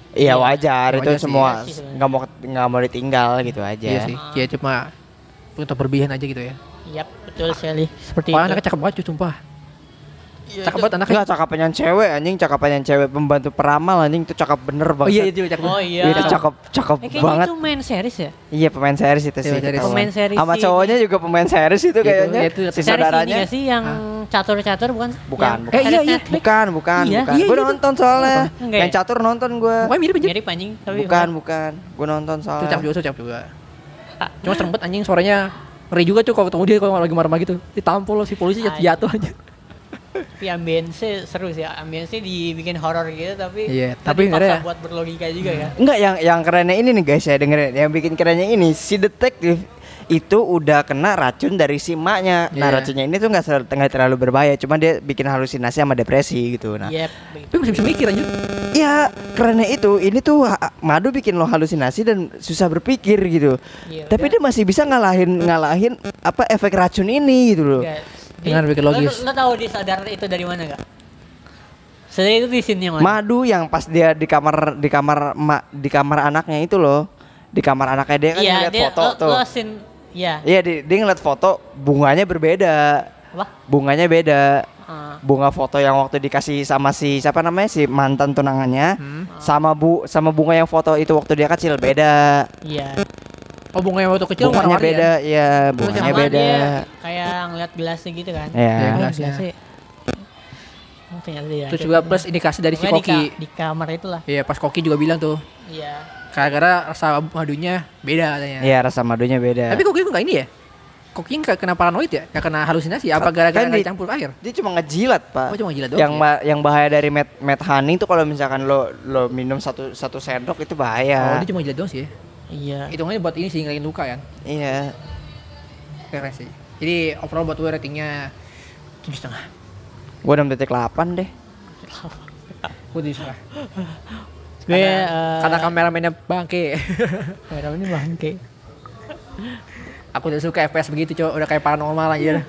C: Iya wajar itu
A: Wajar sih,
C: semua
B: iya sih sebenarnya.
C: nggak mau nggak mau ditinggal gitu aja.
A: Iya sih. Ya cuma untuk berbihan aja gitu ya.
B: Yap, betul sekali. Seperti
A: Wah,
B: itu.
A: anaknya cakep banget cuy, sumpah.
B: Iya,
A: Cakep
B: itu-
A: banget anaknya.
C: Enggak cakapannya yang cewek anjing, cakapannya yang cewek pembantu peramal anjing itu cakep bener
A: Oh
C: banget.
A: iya, itu cakep.
B: Oh iya.
C: Itu cakep cakep
B: Eh, kayaknya
C: banget.
B: itu main series ya?
C: Iya pemain series itu sih.
A: Iya, series.
C: ketahuan.
B: Pemain series
C: Sama
B: sih.
C: cowoknya juga pemain series itu kayaknya.
A: itu, itu.
C: Si
B: series ini
C: saudaranya.
B: gak sih yang catur-catur bukan?
C: Bukan,
B: Yang
C: bukan.
A: Eh, iya,
B: series
A: iya.
B: Netflix?
C: Bukan, bukan,
B: Iya,
C: bukan.
A: iya,
C: gue
A: iya, itu.
C: nonton soalnya.
B: Enggak ya?
C: Yang catur nonton gue.
A: Pokoknya mirip aja.
B: Mirip anjing, tapi
C: Bukan, bukan. Gue nonton
A: Itu cakep
C: soalnya.
A: juga, itu cakep juga.
C: Ah.
A: Cuma serem banget anjing suaranya ngeri juga cuy kalau ketemu dia kalau lagi marah-marah gitu. Ditampol si polisi jat-
B: Anjing.
A: jatuh aja.
B: Tapi ambience seru sih. Ambience dibikin horor gitu tapi
A: Iya,
B: kita
A: tapi
B: dipaksa
A: ngeri ya.
B: buat berlogika juga ya.
C: Enggak yang yang kerennya ini nih guys ya dengerin. Yang bikin kerennya ini si detektif itu udah kena racun dari si maknya. Nah
A: Iya.
C: racunnya ini tuh nggak sel- nggak terlalu berbahaya, cuman dia bikin halusinasi sama depresi gitu. Nah
B: Yep.
A: Tapi masih bisa mikir anjir.
C: Iya, karena itu ini tuh ha- madu bikin lo halusinasi dan susah berpikir gitu.
B: Iya,
C: Tapi
B: udah.
C: dia masih bisa ngalahin ngalahin apa efek racun ini gitu loh.
B: Guys,
A: Dengan
B: di-
A: pikir
B: lo-
A: logis.
B: Lo, tahu dia sadar itu dari mana gak? Sadar itu di sini mana?
C: Madu yang pas dia di kamar di kamar ma- di kamar anaknya itu loh. Di kamar anaknya dia kan
B: Iya,
C: ngeliat
B: dia
C: foto
B: lo,
C: tuh.
B: lo sin- iya.
C: Iya, di- dia ngeliat foto bunganya berbeda.
B: Apa?
C: Bunganya beda.
B: Ah.
C: Bunga foto yang waktu dikasih sama si siapa namanya si mantan tunangannya
A: Hmm.
C: sama bu sama bunga yang foto itu waktu dia kecil beda.
B: Iya.
A: Oh bunga yang waktu kecil
C: bunganya
A: warna-warni
C: beda, ya, bunganya
B: Sama
C: beda.
B: dia kayak ngeliat gelasnya gitu kan.
C: Ya.
A: Iya,
B: Oh,
A: gelasnya.
B: gelasnya. Oh, ternyata dia.
A: ya. Terus juga plus indikasi dari si
B: Pokoknya di
A: Koki.
B: ka- Di kamar itulah.
A: Iya pas Koki juga bilang tuh
B: Iya.
A: gara-gara rasa madunya beda katanya.
C: Iya, rasa madunya beda.
A: Tapi Koki nggak ini ya? Koki nggak kena paranoid ya? Nggak kena halusinasi? Apa gara-gara
C: Kan
A: nggak
C: di-
A: campur air?
C: dia cuma ngejilat, Pak.
A: Oh, cuma ngejilat doang
C: Yang
A: ya?
C: ma- yang bahaya dari met met honey itu kalau misalkan lo lo minum satu satu sendok
A: Oh
C: itu bahaya.
A: dia cuma jilat doang sih. ya.
B: Iya.
A: Hitungannya buat ini sih ngilangin luka kan.
C: Iya.
A: Keren sih. Jadi overall buat gue ratingnya tujuh setengah.
C: Gua 6.8 deh.
A: Gue tujuh setengah.
B: Gue
A: Karena-
B: eh,
A: karena kameramennya bangke.
B: kamera ini bangke.
A: Aku udah suka FPS begitu cowok udah kayak paranormal aja.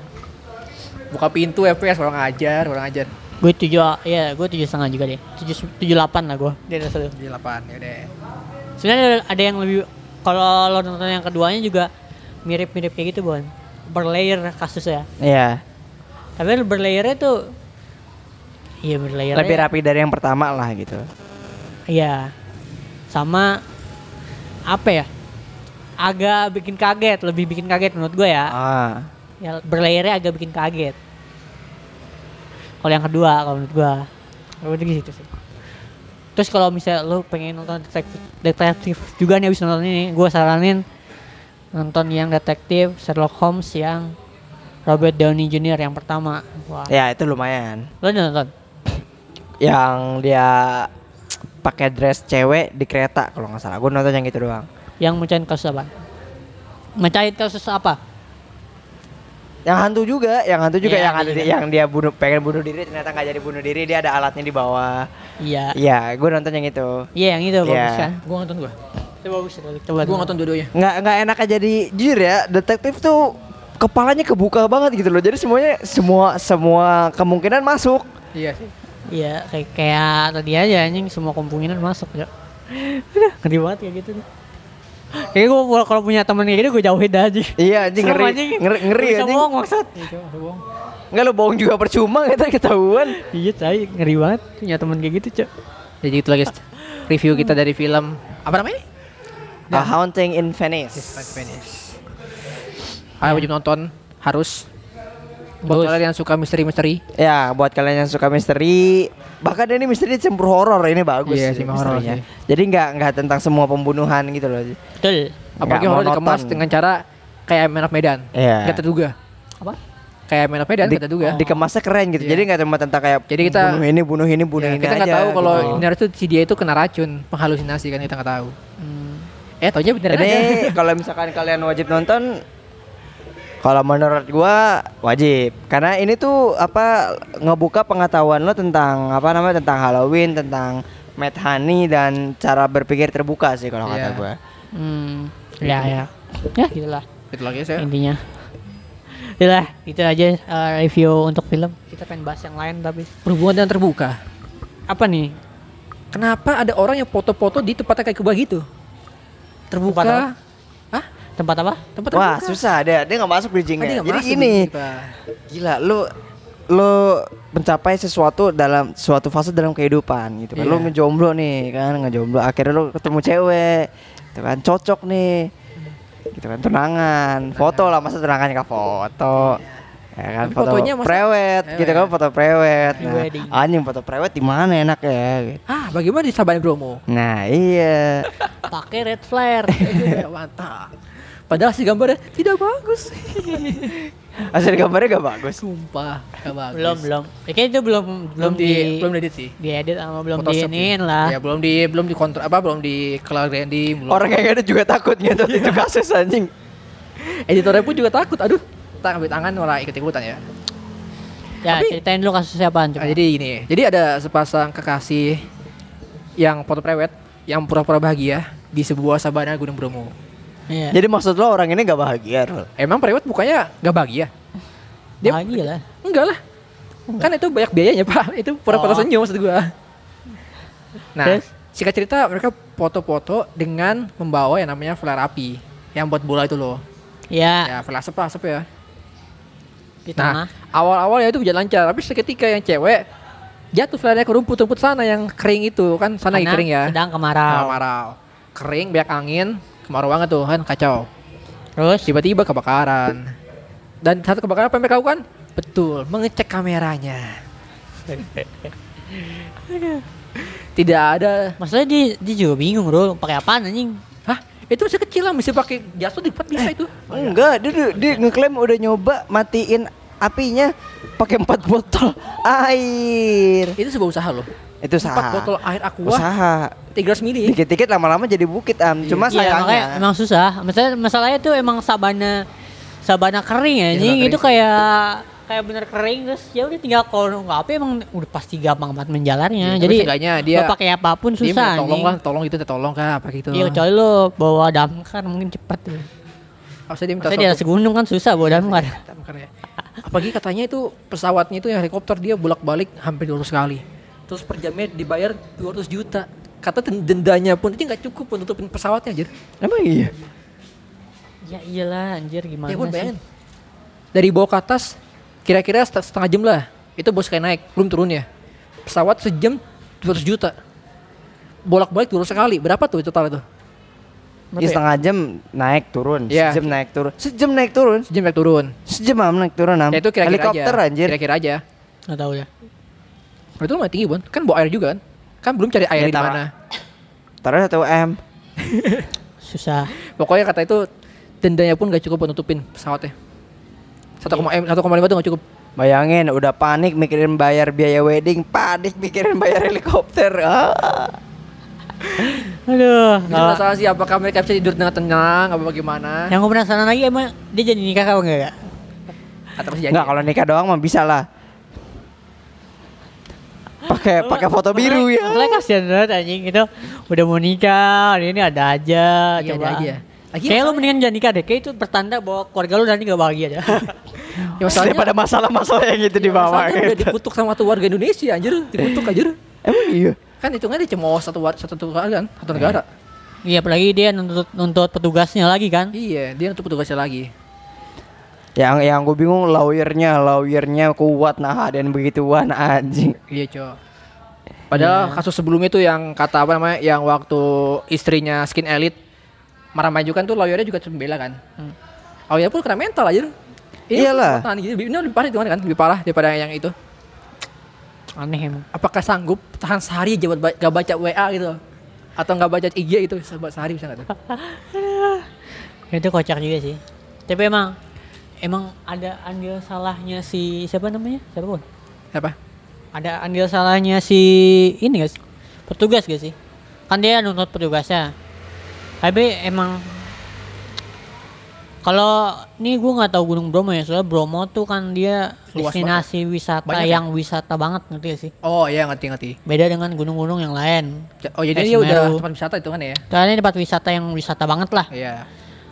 A: Buka pintu FPS orang ajar, orang ajar.
B: Gue tujuh, ya gue tujuh setengah juga deh. Tujuh tujuh delapan lah gue. Dia ada satu.
A: Jadi delapan ya deh.
B: Sebenarnya ada, ada yang lebih. Kalau lo nonton yang keduanya juga mirip-mirip kayak gitu bon. Berlayer kasusnya.
C: Iya.
B: Tapi berlayernya tuh. Iya berlayer.
C: Lebih
A: ya.
C: rapi dari yang pertama lah gitu.
B: Iya. Sama apa ya? Agak bikin kaget, lebih bikin kaget menurut gue ya.
C: Ah.
B: Ya berlayernya agak bikin kaget. Kalau yang kedua kalau menurut gue. Kalau menurut gua gitu sih. Terus kalau misalnya lu pengen nonton detektif, detektif juga nih abis nonton ini, gue saranin nonton yang detektif Sherlock Holmes yang Robert Downey Jr. yang pertama. Wah,
C: Ya, itu lumayan.
B: lo udah nonton?
C: Yang dia pakai dress cewek di kereta kalau nggak salah. Gua nonton yang itu doang.
B: Yang mecahin kasus apa? Mecahin kasus apa?
C: Yang hantu juga, yang hantu juga
B: Iya,
C: yang ada
B: hantu
C: di-
B: juga.
C: yang dia bunuh pengen bunuh diri ternyata nggak jadi bunuh diri dia ada alatnya di bawah.
B: Iya.
C: Iya, gue nonton yang itu.
B: Iya yang itu bagus
C: Iya.
B: kan?
A: Gue nonton gue.
B: Itu bagus itu. Coba
A: Gue nonton dua-duanya.
C: Nggak nggak enak aja di jujur ya, detektif tuh kepalanya kebuka banget gitu loh. Jadi semuanya semua semua kemungkinan masuk.
A: Iya sih.
B: Iya kayak, kayak tadi aja anjing semua kemungkinan masuk ya. Udah ngeri banget kayak gitu. nih. Kayaknya gue kalau punya temen kayak gitu gue jauhin dah aja.
C: Iya, anjing
B: Serem,
C: ngeri, ngeri ngeri
B: Bisa
C: anjing.
B: bohong maksud.
C: Nggak lo bohong juga percuma kita ketahuan.
B: Iya tai ngeri banget punya temen kayak gitu cok.
A: Jadi itu lagi review kita dari film apa namanya?
B: Ya.
C: A Haunting in Venice.
A: Ayo wajib nonton harus. Buat
B: Harus.
A: kalian yang suka misteri-misteri,
C: Ya, buat kalian yang suka misteri, bahkan ini misteri campur horor ini bagus.
A: Iya
C: sih
A: sih, horor
C: misterinya.
A: sih.
C: Jadi nggak nggak tentang semua pembunuhan gitu loh.
B: Betul.
A: apalagi
C: Nggak
A: horor
C: monoton.
A: dikemas dengan cara kayak Man of Medan.
C: Iya.
A: Gak terduga.
B: Apa?
A: Kayak Man of Medan gak terduga.
C: dikemasnya keren gitu.
A: Iya.
C: Jadi nggak cuma tentang kayak
A: Jadi kita-
C: bunuh ini, bunuh ini, bunuh
A: Ya,
C: ini
A: kita nggak
C: aja,
A: tahu kalau
C: gitu.
A: benar itu si dia itu kena racun, penghalusinasi kan kita nggak tahu. Eh, taunya beneran
C: Jadi
A: ada.
C: kalau misalkan kalian wajib nonton kalau menurut gua wajib karena ini tuh apa ngebuka pengetahuan lo tentang apa namanya tentang Halloween, tentang Mad Honey dan cara berpikir terbuka sih kalau
A: Iya.
C: kata gua.
B: Hmm. Ya ya. Ya gitulah
A: Itu lagi
C: Ya.
A: saya.
B: intinya. Itulah itu aja eh, review untuk film. Kita pengen bahas yang lain tapi
A: Perhubungan yang terbuka.
B: apa nih?
A: Kenapa ada orang yang foto-foto di tempat yang kayak kubah gitu? Terbuka.
B: Tempat apa?
A: Hah?
B: Tempat apa?
A: Tempat
C: Wah,
A: terbuka.
C: susah dia, dia nggak
A: Ah,
C: masuk
A: dia
C: bridgingnya.
A: nggak
C: Jadi
A: masuk
C: gini,
A: gitu, Pak.
C: gila lu lu mencapai sesuatu dalam suatu fase dalam kehidupan gitu kan. Lu
A: Iya.
C: ngejomblo nih kan, ngejomblo akhirnya lu ketemu cewek gitu kan, cocok nih. Gitu kan
A: Iya.
C: tunangan, foto lah masa tunangan nggak foto. Ya kan
A: Tapi
C: foto
A: fotonya masa-
C: prewet gitu kan,
A: Prewet.
C: foto prewet. Nah,
B: Pre-wedding.
C: anjing foto prewet di mana enak ya gitu.
A: Ah, bagaimana di Sabana Bromo?
C: Nah, iya.
B: Pakai red flare.
A: Iya, Mantap. Padahal si gambarnya tidak bagus.
C: Hasil gambarnya gak bagus.
A: Sumpah, gak bagus.
B: belum belum ya, kayaknya itu belum
A: belum di, belum diedit sih.
B: diedit sama belum
A: Photoshop
B: diinin
A: sih.
B: lah
A: Ya, belum di belum di kontrol apa belum di color grading belum.
C: Orang yang ada juga takut gitu itu kasus anjing.
A: Editornya pun juga takut. Aduh, tak ambil tangan malah ikut-ikutan ya.
B: Ya,
A: Tapi-
B: ceritain dulu kasusnya apaan coba.
A: Nah, jadi gini, jadi ada sepasang kekasih yang foto prewed yang pura-pura bahagia di sebuah sabana Gunung Bromo.
B: Iya.
C: Jadi maksud lo orang ini gak bahagia, Rul?
A: Emang prewed bukannya gak bahagia? dia-
B: Bahagia lah.
A: Enggak lah. Kan itu banyak biayanya, Pak. Itu pura-pura
B: Oh.
A: senyum maksud gua. Nah,
B: Terus?
A: singkat cerita mereka foto-foto dengan membawa yang namanya flare api yang buat bola itu loh. Ya,
B: Ya,
A: flare asap lah, asap ya.
B: di
A: Nah,
B: tengah.
A: awal-awal ya itu berjalan lancar, tapi seketika yang cewek jatuh flare ke rumput-rumput sana yang kering itu kan sana lagi
B: Karena
A: kering ya.
B: Sedang kemarau.
A: Nah, marau. Kering, banyak angin, kemarau banget tuh kan kacau.
B: Terus
A: Tiba-tiba kebakaran. Dan satu kebakaran apa yang mereka lakukan? Betul, mengecek kameranya. Tidak ada.
B: maksudnya dia, dia juga bingung, Rul. Pakai apaan anjing?
A: Hah? Itu masih kecil lah, mesti pakai jasad lipat bisa itu.
C: Oh, Enggak, dia, dia, dia ngeklaim udah nyoba matiin apinya pakai empat botol air.
A: Itu sebuah usaha loh.
C: Itu
A: Empat
C: usaha.
A: botol air aqua,
C: Usaha.
A: 300 mili.
C: Dikit-dikit lama-lama jadi bukit, Am. Cuma
B: Iya, makanya
C: sayangnya
B: emang susah. Maksudnya masalahnya tuh emang sabana sabana kering anjing.
A: Iya, kering
B: Itu
A: sih.
B: kayak kayak bener kering terus ya udah tinggal kalau nggak apa emang udah pasti gampang banget menjalarnya.
A: Iya, tapi
B: Jadi
A: seenggaknya dia-
B: mau pakai apapun
A: Dia minta
B: susah
A: tolong
B: anjing.
A: lah, tolong itu, tolong kah, apa gitu.
B: Iya kecuali lo bawa damkar mungkin cepat tuh.
A: Harusnya dia minta
B: Maksudnya di atas
A: satu-
B: gunung kan susah bawa damkar.
A: Hitam kan ya. Apalagi katanya itu pesawatnya itu yang helikopter dia bolak-balik hampir 200 kali. Terus per jamnya dibayar 200 juta. Kata den- dendanya pun itu nggak cukup untuk nutupin pesawatnya anjir.
C: Emang iya.
B: Ya iyalah anjir gimana
A: Ya pun
B: sih.
A: bayangin. Dari bawah ke atas kira-kira set- setengah jam lah. Itu bos kayak naik, belum turun ya. Pesawat sejam 200 juta. Bolak-balik 200 kali. Berapa tuh total itu?
C: Ya, setengah jam naik turun,
A: Iya.
C: sejam naik turun, sejam naik turun,
A: Sejam naik turun.
C: sejam am naik turun am.
A: Ya itu kira-kira
C: Helikopter
A: aja.
C: anjir.
A: Kira-kira aja.
B: Nggak tahu ya.
A: Itu lumayan tinggi, Bon. Kan bawa air juga kan? Kan belum cari air
C: Ya,
A: di
C: tara-
A: mana.
C: Taruh satu m.
B: Susah.
A: Pokoknya kata itu dendanya pun gak cukup buat nutupin pesawatnya. eh, 1,5 M, 1,5 itu gak cukup.
C: Bayangin udah panik mikirin bayar biaya wedding, panik mikirin bayar helikopter. Ah.
B: Aduh.
A: Itu
B: nggak-
A: masalah sih apakah mereka bisa tidur dengan tenang apa bagaimana
C: Ya.
B: Yang gue penasaran lagi emang dia jadi nikah apa enggak ya?
A: atau masih
B: Iya,
A: jadi.
C: Enggak kalau nikah doang mah bisa lah. Pakai pakai foto biru
B: Masalahnya-
C: ya.
B: Masalahnya kasihan banget anjing itu udah mau nikah, hari ini ada aja
A: Iya,
B: coba.
A: ada
C: ya.
A: aja. Lagi
B: Kayak lu
A: masalahnya-
B: mendingan jangan nikah deh, kayak itu bertanda bahwa keluarga lu nanti gak bahagia aja.
A: Ya, masalahnya,
C: Daripada masalah-masalah yang itu di bawah
A: masalahnya udah
C: gitu.
A: dikutuk sama satu warga Indonesia anjir, dikutuk anjir.
C: Emang iya.
A: Kan hitungannya cuma satu war, satu negara kan, satu negara.
B: Iya apalagi dia nuntut, nuntut petugasnya lagi kan.
A: Iya, dia untuk petugasnya lagi.
C: Yang yang gue bingung lawyernya, lawyernya kuat nah dan begituan anjing.
A: Iya, Cok.
B: Iya.
A: Padahal kasus sebelumnya tuh yang kata apa namanya, yang waktu istrinya skin elite marah-marah juga kan tuh lawyernya juga sembela kan.
B: Hmm.
A: Oh ya pun kena mental aja.
B: Iya
C: Iyalah.
A: Tahan, ini lebih ini lebih parah itu kan lebih parah daripada yang itu.
B: Aneh emang.
A: Apakah sanggup tahan sehari aja buat ba- gak baca WA gitu? Atau gak baca IG itu sebuat sehari bisa nggak tuh?
B: Itu kocak juga sih. Tapi emang emang ada andil salahnya si siapa namanya? Siapa pun?
A: Apa?
B: Ada andil salahnya si ini guys. Petugas gak sih? Kan dia nuntut petugasnya. Tapi emang kalau ini gue nggak tahu Gunung Bromo ya, soalnya Bromo tuh kan dia
A: Luas
B: destinasi wisata
A: Banyak ya?
B: yang wisata banget ngerti gak sih?
A: Oh iya ngerti ngerti.
B: Beda dengan gunung-gunung yang lain.
A: C- Oh jadi
B: Eh,
A: dia udah
B: Semeru.
A: tempat wisata itu kan ya?
B: Soalnya ini tempat wisata yang wisata banget lah.
A: Iya.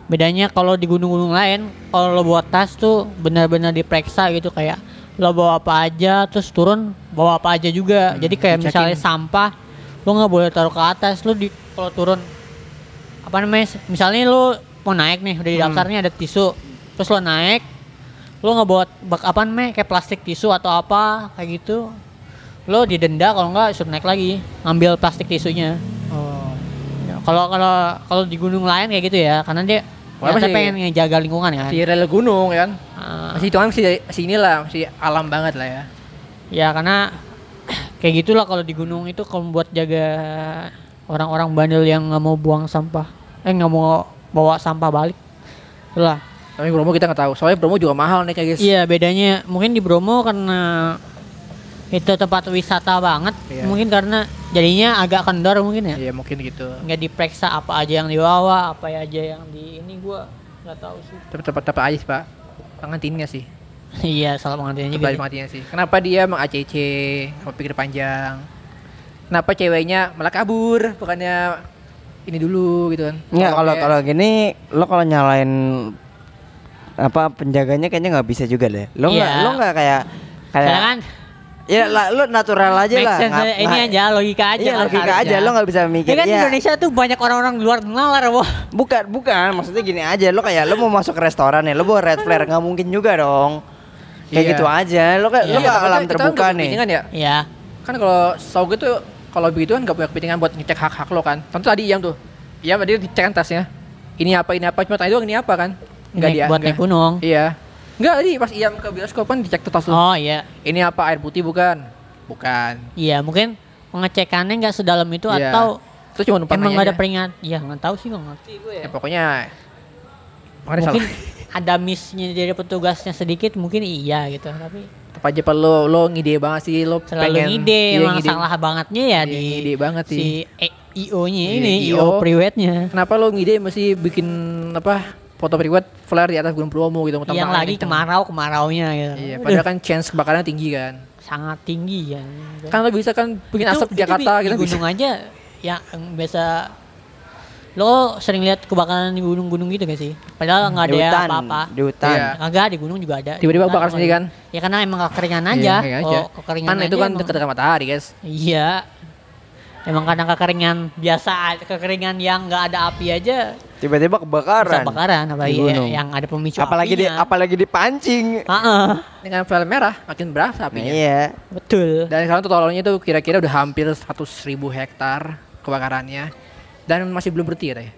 B: Bedanya kalau di gunung-gunung lain, kalau lo bawa tas tuh benar-benar diperiksa gitu kayak lo bawa apa aja, terus turun bawa apa aja juga. Jadi kayak
A: dicekin.
B: misalnya sampah, lo nggak boleh taruh ke atas, lo di kalau turun apa namanya? Misalnya lo mau naik nih, udah di daftarnya ada tisu, terus lo naik, lo nggak bawa bak apa namanya kayak plastik tisu atau apa kayak gitu, lo didenda kalau nggak suruh naik lagi, ngambil plastik tisunya.
A: Oh.
B: Ya, kalau kalau kalau di gunung lain kayak gitu ya karena dia
A: Wah,
B: ternyata
A: masih-
B: pengen ngejaga lingkungan kan
A: Di rel gunung ya kan?
B: Ah,
A: Masih itu kan masih, masih inilah masih alam banget lah ya.
B: ya karena kayak gitulah kalau di gunung itu kalau buat jaga orang-orang bandel yang nggak mau buang sampah eh nggak mau bawa sampah balik itulah
A: Tapi Bromo kita nggak tahu. Soalnya Bromo juga mahal nih guys.
B: iya bedanya mungkin di Bromo karena itu tempat wisata banget
A: Iya.
B: mungkin karena jadinya agak kendor mungkin ya
A: Iya mungkin gitu.
B: nggak diperiksa apa aja yang dibawa apa aja yang di ini gua Gak tahu sih.
A: Tapi tetap tetap aja sih, Pak. Pengantinnya sih.
B: iya, salah pengantinnya
A: Tetap
B: juga.
A: aja pengantinnya sih. Kenapa dia emang ACC, mau pikir panjang. Kenapa ceweknya malah kabur, bukannya ini dulu gitu kan.
C: Nggak kalau
A: kayak-
C: kalau gini lo kalau nyalain apa penjaganya kayaknya nggak bisa juga deh. Lo nggak
B: Iya.
C: lo nggak kayak kayak
B: Karena kan
C: ya lah, lo natural aja
B: make
C: lah.
B: sense
C: nggak-
B: aja. ini
C: nggak-
B: aja logika aja.
C: Iya,
B: harus-
C: logika aja.
B: harusnya.
C: Lo nggak bisa mikir,
B: Ya kan di
C: iya.
B: Indonesia tuh banyak orang-orang luar nalar, wah.
C: Bukan bukan maksudnya gini aja lo kayak lo mau masuk ke restoran ya lo bawa red flare nggak mungkin juga dong. Kayak
A: Iya.
C: gitu aja. Lo kayak lo
A: Iya,
C: nggak
A: takutnya
C: alam
A: kita
C: terbuka
A: nggak
C: nih.
A: kepitingan ya.
B: Iya.
A: Kan kalau saw gitu kalau begitu kan gak punya kepentingan buat ngecek hak-hak lo kan. Tentu tadi Iyam tuh. Iyam tadi dicek kan tasnya. Ini apa ini apa cuma tanya doang ini apa kan? Enggak
B: Naik-
A: dia.
B: buat
A: enggak.
B: naik gunung.
A: Iya. Enggak tadi pas Iyam ke bioskop kan dicek tuh tas lo.
B: Oh iya.
A: Ini apa air putih bukan? Bukan.
B: Iya, mungkin pengecekannya nggak sedalam itu
A: Iya. ya.
B: atau
A: Itu cuma numpang
B: emang
A: nanya
B: nggak ada
A: aja.
B: peringat. Iya, nggak tahu sih nggak ngerti gue.
A: Ya, pokoknya Makanya
B: mungkin
A: salah.
B: ada missnya dari petugasnya sedikit mungkin iya gitu tapi
A: Apa aja Pak, lo lo ngide banget sih lo pengen
B: selalu ngide
A: Iya,
B: emang salah bangetnya ya
A: Iya,
B: di
A: ngide banget
B: si
A: sih.
B: IO nya
A: Iya,
B: ini
A: EO.
B: IO priwetnya
A: Kenapa lo ngide mesti bikin apa foto priwet flare di atas Gunung Bromo gitu ngutang
B: yang
A: tangan
B: lagi
A: kenceng.
B: kemarau kemaraunya gitu
A: Iya,
B: Udah,
A: padahal kan chance kebakarannya tinggi kan.
B: sangat tinggi ya
A: Kan lo bisa kan bikin
B: Itu-
A: asap
B: itu
A: di Jakarta
B: di-
A: gitu
B: di
A: bisa.
B: gunung aja ya yang biasa lo sering lihat kebakaran di gunung-gunung gitu gak sih padahal nggak
C: Di
B: ada
C: hutan,
B: apa-apa
C: di hutan.
A: Iya.
B: Kagak di gunung juga ada.
A: Tiba-tiba
B: Di hutan
A: bakar
B: apa
A: sendiri
B: gitu.
A: kan?
B: Ya karena emang kekeringan aja.
A: Iya, kayak
B: Kalau
A: aja.
B: kekeringan
A: Kan
B: aja
A: itu kan
B: emang-
A: dekat dekat matahari, guys.
B: Iya. Emang karena kekeringan biasa, kekeringan yang nggak ada api aja
C: Tiba-tiba
B: bisa
C: kebakaran.
B: bakaran apalagi
C: Di gunung.
B: yang ada pemicu
C: Apalagi di
B: apinya.
C: apalagi dipancing.
B: Heeh,
A: Dengan film merah makin berasa apinya.
C: Iya.
B: betul.
A: Dan sekarang totalnya itu kira-kira udah hampir 100 ribu hektar kebakarannya dan masih belum berhenti ya. Teh?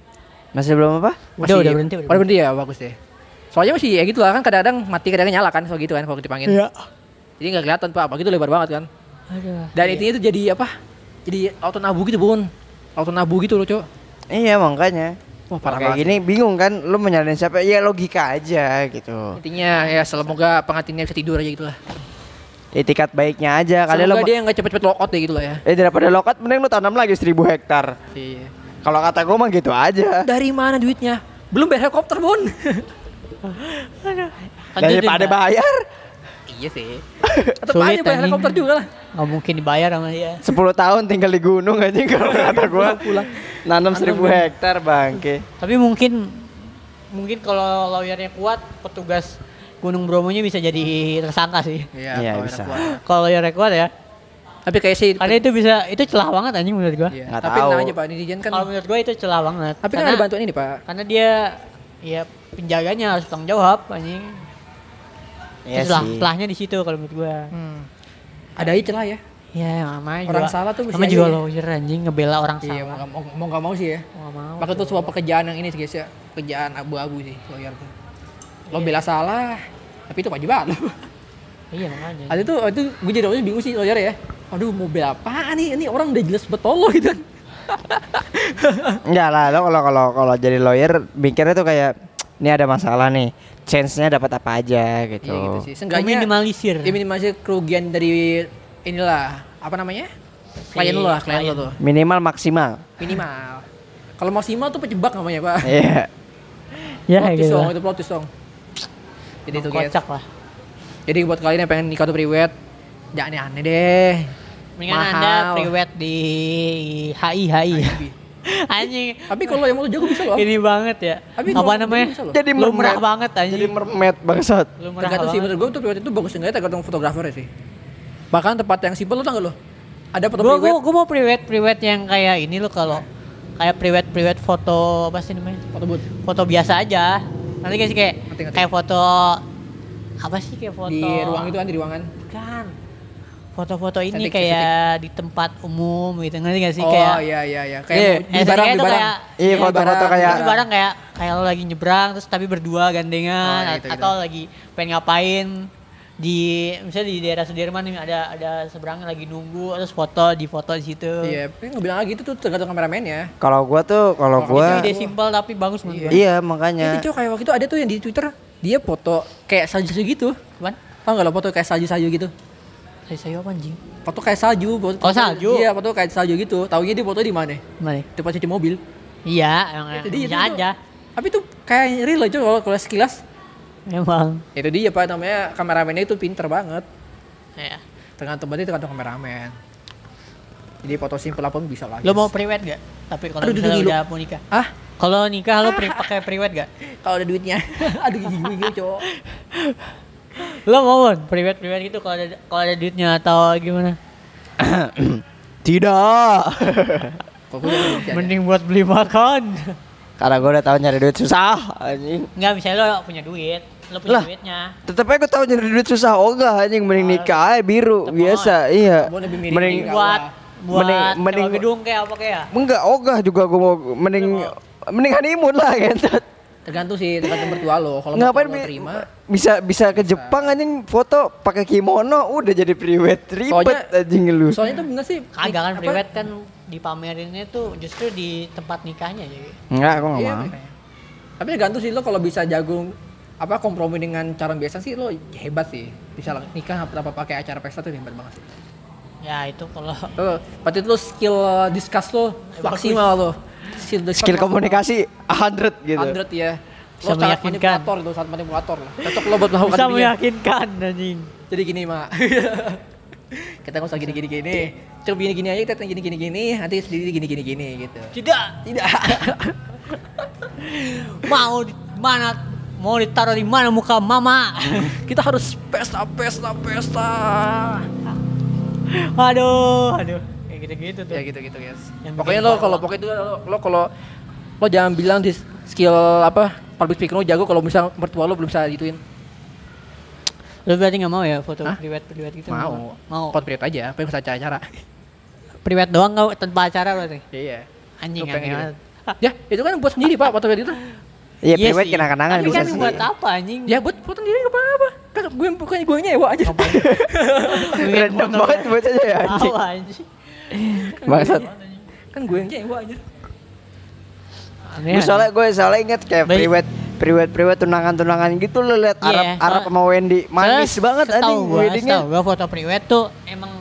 C: Masih belum apa?
B: Udah,
A: Masih-
B: udah berhenti, udah
A: udah berhenti ya bagus deh. Soalnya masih ya gitu lah kan kadang-kadang mati kadang-kadang nyala kan soal gitu kan kalau dipanggil.
B: Iya.
A: Jadi nggak kelihatan pak, apalagi itu lebar banget kan.
B: Ya. Aduh.
A: Dan intinya itu jadi apa? Jadi auto nabu gitu bun, auto nabu gitu loh cok.
C: Iya makanya.
A: Wah Oh,
C: Parah
A: parah
C: kayak
A: banget.
C: gini bingung kan lu mau nyalain siapa? Ya logika aja gitu.
A: Intinya ya semoga pengantinnya bisa tidur aja gitu lah.
C: Etikat Ya, baiknya aja kali lo
A: Semoga dia nggak cepet-cepet lokot deh gitu lah ya.
C: Eh daripada lokat mending lu tanam lagi 1000 hektar.
A: Iya.
C: Kalau kata gua mah gitu aja.
A: Dari mana duitnya? Belum bayar helikopter bun.
B: Kan itu
C: Daripada
B: juga
C: bayar
A: iya sih. Tetap
B: Sulit,
A: aja bayar
B: anjing.
A: helikopter juga lah.
B: nggak mungkin dibayar sama dia.
C: 10 tahun tinggal di gunung aja kalau kata gua.
A: Pulang.
C: Nanam 1000 hektar bangke.
B: Tapi mungkin mungkin kalau lawyernya kuat, petugas Gunung Bromonya bisa jadi tersangka sih.
C: Iya,
A: kalau enak
C: bisa.
A: keluar.
B: Kalau lawyernya kuat ya.
A: Tapi kayak sih.
B: Karena itu bisa itu celah banget anjing menurut gua.
A: Iya,
C: Nggak
A: Tapi
C: tahu.
A: tenang aja pak, netizen kan.
B: Kalau menurut gue itu celah banget.
A: Tapi kan
B: karena,
A: ada bantuan ini pak.
B: karena dia ya penjaganya harus tanggung jawab anjing.
C: Iya
B: Itu celah,
C: sih.
B: celahnya di situ kalau menurut gue.
A: Ada aja celah ya.
B: Ya namanya
A: Hmm. Orang
B: juga,
A: salah tuh mesti
B: namanya juga
A: aja ya.
B: lawyer anjing ngebela orang
A: Iya,
B: salah.
A: mau, mau, mau gak mau sih ya.
B: Nggak mau.
A: Maka itu sebuah pekerjaan yang ini sih guys ya. Pekerjaan abu-abu sih lawyer tuh. Lo bela salah, tapi itu kewajiban lo.
B: Iya makanya.
A: Ada tuh, itu gue jadi awalnya bingung sih lawyer ya. Aduh mau bela apa nih? Ini orang udah jelas betul lo gitu. kan.
C: Enggak lah, lo kalau kalau kalau jadi lawyer mikirnya tuh kayak ini ada masalah nih. Chance-nya dapat apa aja gitu.
A: Iya gitu sih. Seenggaknya
B: Meminimalisir.
A: Dia minimalisir kerugian dari inilah apa namanya? Klien lo lah, klien lo tuh.
C: Minimal maksimal.
A: Minimal. Kalau maksimal tuh pejebak namanya pak.
C: Iya.
B: Ya
A: plot twist
B: gitu.
A: dong,
B: lah.
A: itu plot twist dong. Jadi itu guys.
B: Kocak lah.
A: Jadi buat kalian yang pengen nikah tuh priwet, jangan aneh-aneh deh.
B: Mendingan
A: Mahal.
B: anda priwet di HI HI. anjing.
A: Tapi kalau yang mau jago bisa loh.
B: Ini banget ya.
A: Tapi
B: Apa
A: kalau-
B: namanya?
A: bisa loh.
C: Jadi
B: lumrah
C: mermaid.
B: banget anjing.
C: Jadi mermaid bangsat.
B: lumrah
A: Tergantung sih
B: banget.
A: menurut gue tuh priwet itu bagus enggak tergantung fotografer sih. Bahkan tempat yang simpel lo tau gak lo? Ada foto
B: Gue
A: priwet,
B: mau priwet priwet yang kayak ini lo kalau kayak priwet priwet foto apa sih namanya?
A: foto booth.
B: Foto biasa aja. Nanti kayak sih kayak
A: Ngerti, ngerti.
B: kayak foto apa sih kayak foto
A: Di ruang itu kan di ruangan.
B: Bukan. Foto-foto ini
A: Estetik,
B: kayak di tempat umum gitu ngerti gak sih
A: oh iya
B: kayak
A: iya iya.
C: Iya,
A: Kayak di
B: estetikanya
A: barang di
B: Eh, tuh
A: barang.
B: kayak- gitu.
A: Di
C: Iya, foto-foto
A: barang,
C: kayak-
A: di
B: Itu
A: barang.
B: barang kayak kayak lo lagi nyebrang terus tapi berdua gandengan
A: Oh,
B: at-
A: gitu, gitu.
B: atau lagi pengen ngapain di misalnya di daerah Sudirman nih ada ada seberangnya lagi nunggu terus foto di foto di situ.
A: Iya, tapi nggak bilang lagi itu tuh tergantung kameramennya.
C: Kalau gua tuh kalau
B: Itu
A: gitu
C: gua
B: ide simpel tapi bagus
A: ya.
B: menurut gua.
C: Iya,
A: Itu
C: makanya.
A: cowok kayak waktu itu ada tuh yang di Twitter dia foto kayak salju gitu.
B: Cuman
A: Tau gak lo foto kayak salju-salju gitu?
B: saya saya apa anjing?
A: Foto kayak salju, foto,
B: Oh, salju.
A: Iya, foto kayak salju gitu. Taunya dia foto di mana?
B: Gimana? ya?
A: Depan cuci mobil.
B: Iya, emang
A: Jadi
B: bisa
A: itu-
B: aja.
A: Tapi itu kayak real aja kalau kalau sekilas
B: Emang.
A: itu dia pak namanya kameramennya itu pinter banget
B: Ya.
A: tergantung berarti tergantung kameramen jadi foto simple apapun bisa lagi
B: Lo mau priwet gak? Tapi kalau
A: Aduh,
B: misalnya
A: duduk,
B: udah mau nikah.
A: ah
B: Kalau nikah lo pri pakai priwet gak?
A: kalau ada duitnya aduh gigi gue gini, cowok
B: Lo mau Bon? priwet priwet gitu kalau ada kalau ada duitnya atau gimana?
C: Tidak.
A: kalau gue ada duitnya ya.
B: Mending buat beli makan.
C: Karena gue udah tahu nyari duit susah anjing.
B: Enggak, misalnya lo punya duit, lo punya
C: Lah.
B: duitnya.
C: Tetep aja gue tahu nyari duit susah ogah anjing mending nikah aja biru
B: Tetep
C: biasa iya.
A: Gua lebih mirip
C: Mending
A: nikah.
B: Buat buat
C: Mending-
B: sewa
C: mending-
B: gedung kayak apa kayak? ya?
C: enggak ogah juga gue mau mending mending honeymoon lah kan.
A: tergantung sih tergantung mertua lo kalau mertua
C: ngapain bi-
A: lo terima
C: bisa bisa ke Jepang anjing foto pakai kimono udah jadi priwet ribet
A: Soalnya-
C: anjing lu
A: soalnya itu bener sih
B: Kagak kan
A: apa-
B: priwet kan dipamerinnya tuh justru di tempat nikahnya jadi.
C: enggak
B: Oh,
C: aku nggak
A: Iya,
C: mau
A: makanya. tapi tergantung sih lo kalau bisa jagung apa kompromi dengan cara biasa sih lo hebat sih bisa lah, nikah tanpa pakai acara pesta tuh hebat banget sih
B: Ya itu kalau
A: lo berarti lo skill uh, discuss lo maksimal lo skill, discuss
C: skill
A: maksimal.
C: komunikasi 100 gitu
A: 100 ya
B: Bisa
A: lo sangat
B: meyakinkan.
A: manipulator lo sangat manipulator lo cocok lo buat melakukan
B: bisa
A: dunia.
B: meyakinkan anjing.
A: jadi gini mak kita nggak usah gini gini gini coba gini gini aja kita gini gini gini nanti sendiri gini gini gini gitu
B: Tidak
A: tidak
B: mau di mana mau ditaruh di mana muka mama.
A: kita harus pesta pesta pesta
B: aduh, aduh. Kayak gitu-gitu tuh.
A: ya gitu gitu guys
B: Yang
A: pokoknya
B: bikin
A: lo kalau pokoknya itu lo, lo kalau lo jangan bilang di skill apa public speaking lo jago kalau misalnya mertua lo belum bisa gituin
B: Lu berarti nggak mau ya foto
A: Hah?
B: priwet priwet gitu?
A: mau
B: Mau.
A: portrait aja pengen bisa acara acara
B: Priwet doang nggak tanpa acara berarti?
A: iya
B: Anjing
A: Lo pengen
B: aneh
A: gitu.
B: banget.
A: ya itu kan buat sendiri pak portrait itu
C: iya
B: Iya
C: priwet
B: sih.
C: kenang-kenangan
B: Tapi
C: bisa Iya,
B: kan
C: sendiri
B: buat apa anjing?
A: ya buat foto sendiri nggak apa-apa kan gue bukan gue nyewa aja
C: random banget buat aja ya anjing
B: Tahu anjing.
C: maksud
A: kan gue yang nyewa aja
B: Aneh.
C: gue soalnya gue soalnya inget kayak
B: Iya. Baik.
C: priwet priwet priwet tunangan tunangan gitu lo liat
B: Iya,
C: Arab Arab
B: soalnya-
C: sama Wendy manis banget anjing
B: Tahu gua,
C: weddingnya
B: tahu gua foto priwet tuh emang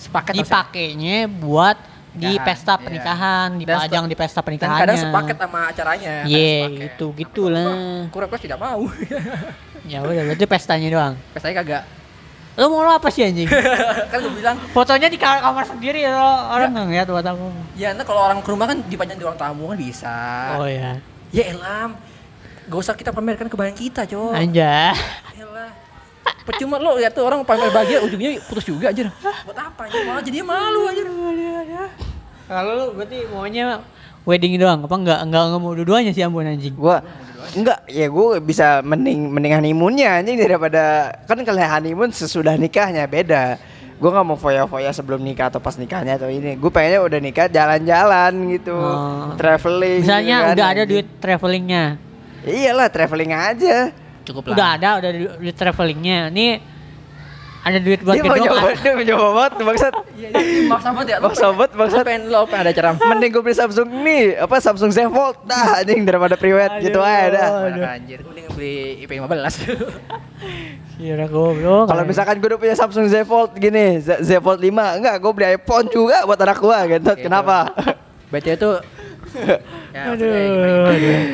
A: sepaket tau, Sam.
B: dipakainya buat di
A: Nikahan,
B: pesta
A: iya.
B: pernikahan,
A: Dan
B: dipajang
A: sepa-
B: di pesta
A: dan
B: pernikahannya.
A: kadang sepaket sama acaranya kadang
B: Iya,
A: sepaket.
B: gitu gitulah.
A: aku request tidak mau
B: Ya udah berarti pestanya doang.
A: pestanya kagak
B: Lo mau lo apa sih anjing?
A: kan gue bilang
B: Fotonya di kamar, kamar sendiri lo
C: Iya.
B: orang nggak ngeliat buat aku.
A: ya nah kalau orang ke rumah kan dipajang di ruang tamu kan bisa
C: Ah.
B: Oh ya,
A: ya elam gak usah kita pamerkan kebahagiaan kita cowok
B: anjay.
A: elah percuma lo lihat tuh orang pamer bahagia ujungnya putus juga aja buat apa anjir malah jadinya malu aja
B: Kalau lo berarti maunya wedding doang apa enggak enggak enggak mau dua-duanya sih ampun anjing.
C: gue enggak ya gue bisa mending mending honeymoonnya anjing daripada kan kalau honeymoon sesudah nikahnya beda gue nggak mau foya-foya sebelum nikah atau pas nikahnya atau ini gue pengennya udah nikah jalan-jalan gitu
B: Oh.
C: traveling gitu
B: Misalnya
C: kan,
B: udah ada
C: anjing.
B: duit travelingnya,
C: iyalah traveling aja
A: cukup
B: udah ada udah ada du- duit travelingnya. Ini ada duit buat
C: dia mau
B: gedung
C: nyoba
B: ah.
C: dia mau nyoba banget tuh, bangsat
A: Iya, iya, maksa banget ya. Lo
C: Maksa banget,
A: pengen-
C: maksa.
A: lo pengen lo pengen ada acara
C: mending gue beli Samsung nih apa Samsung Z Fold dah anjing daripada priwet gitu aja dah
A: Mana anjir, gue mending beli IP 15
B: Iya udah goblok.
C: kalau misalkan gue udah punya Samsung Z Fold gini Z, Z Fold 5 enggak gue beli iPhone juga buat anak gue
A: Gitu.
C: gitu kenapa
A: BTW tuh Ya, maksudnya
B: Aduh,
A: gimana, gimana, gimana.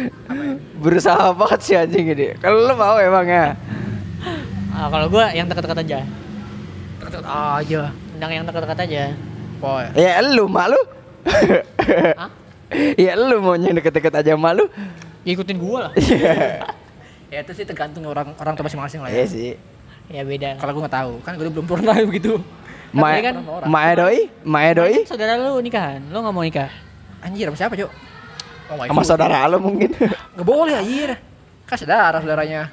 C: Berusaha banget sih anjing ini. Kalau lo mau emang ya.
B: Ah, kalau gua yang dekat-dekat aja.
A: Tetep aja
B: Undang yang dekat-dekat aja.
A: Boy
C: Ya lu malu.
B: Hah?
C: ya lu maunya deket-deket aja Iya. malu.
B: Ya, ikutin gua lah.
A: Ya itu sih tergantung orang orang tua masing-masing lah ya
C: Iya sih.
B: ya beda.
A: Kalau gue gak tahu, kan gue belum pernah begitu
C: Mae
B: kan-
C: Mae doi, Mae doi
B: Kan Saudara lu nikahan, lu nggak mau nikah?
A: Anjir sama siapa cok? Oh,
C: sama saudara lo mungkin.
A: Gak boleh anjir Kan saudara saudaranya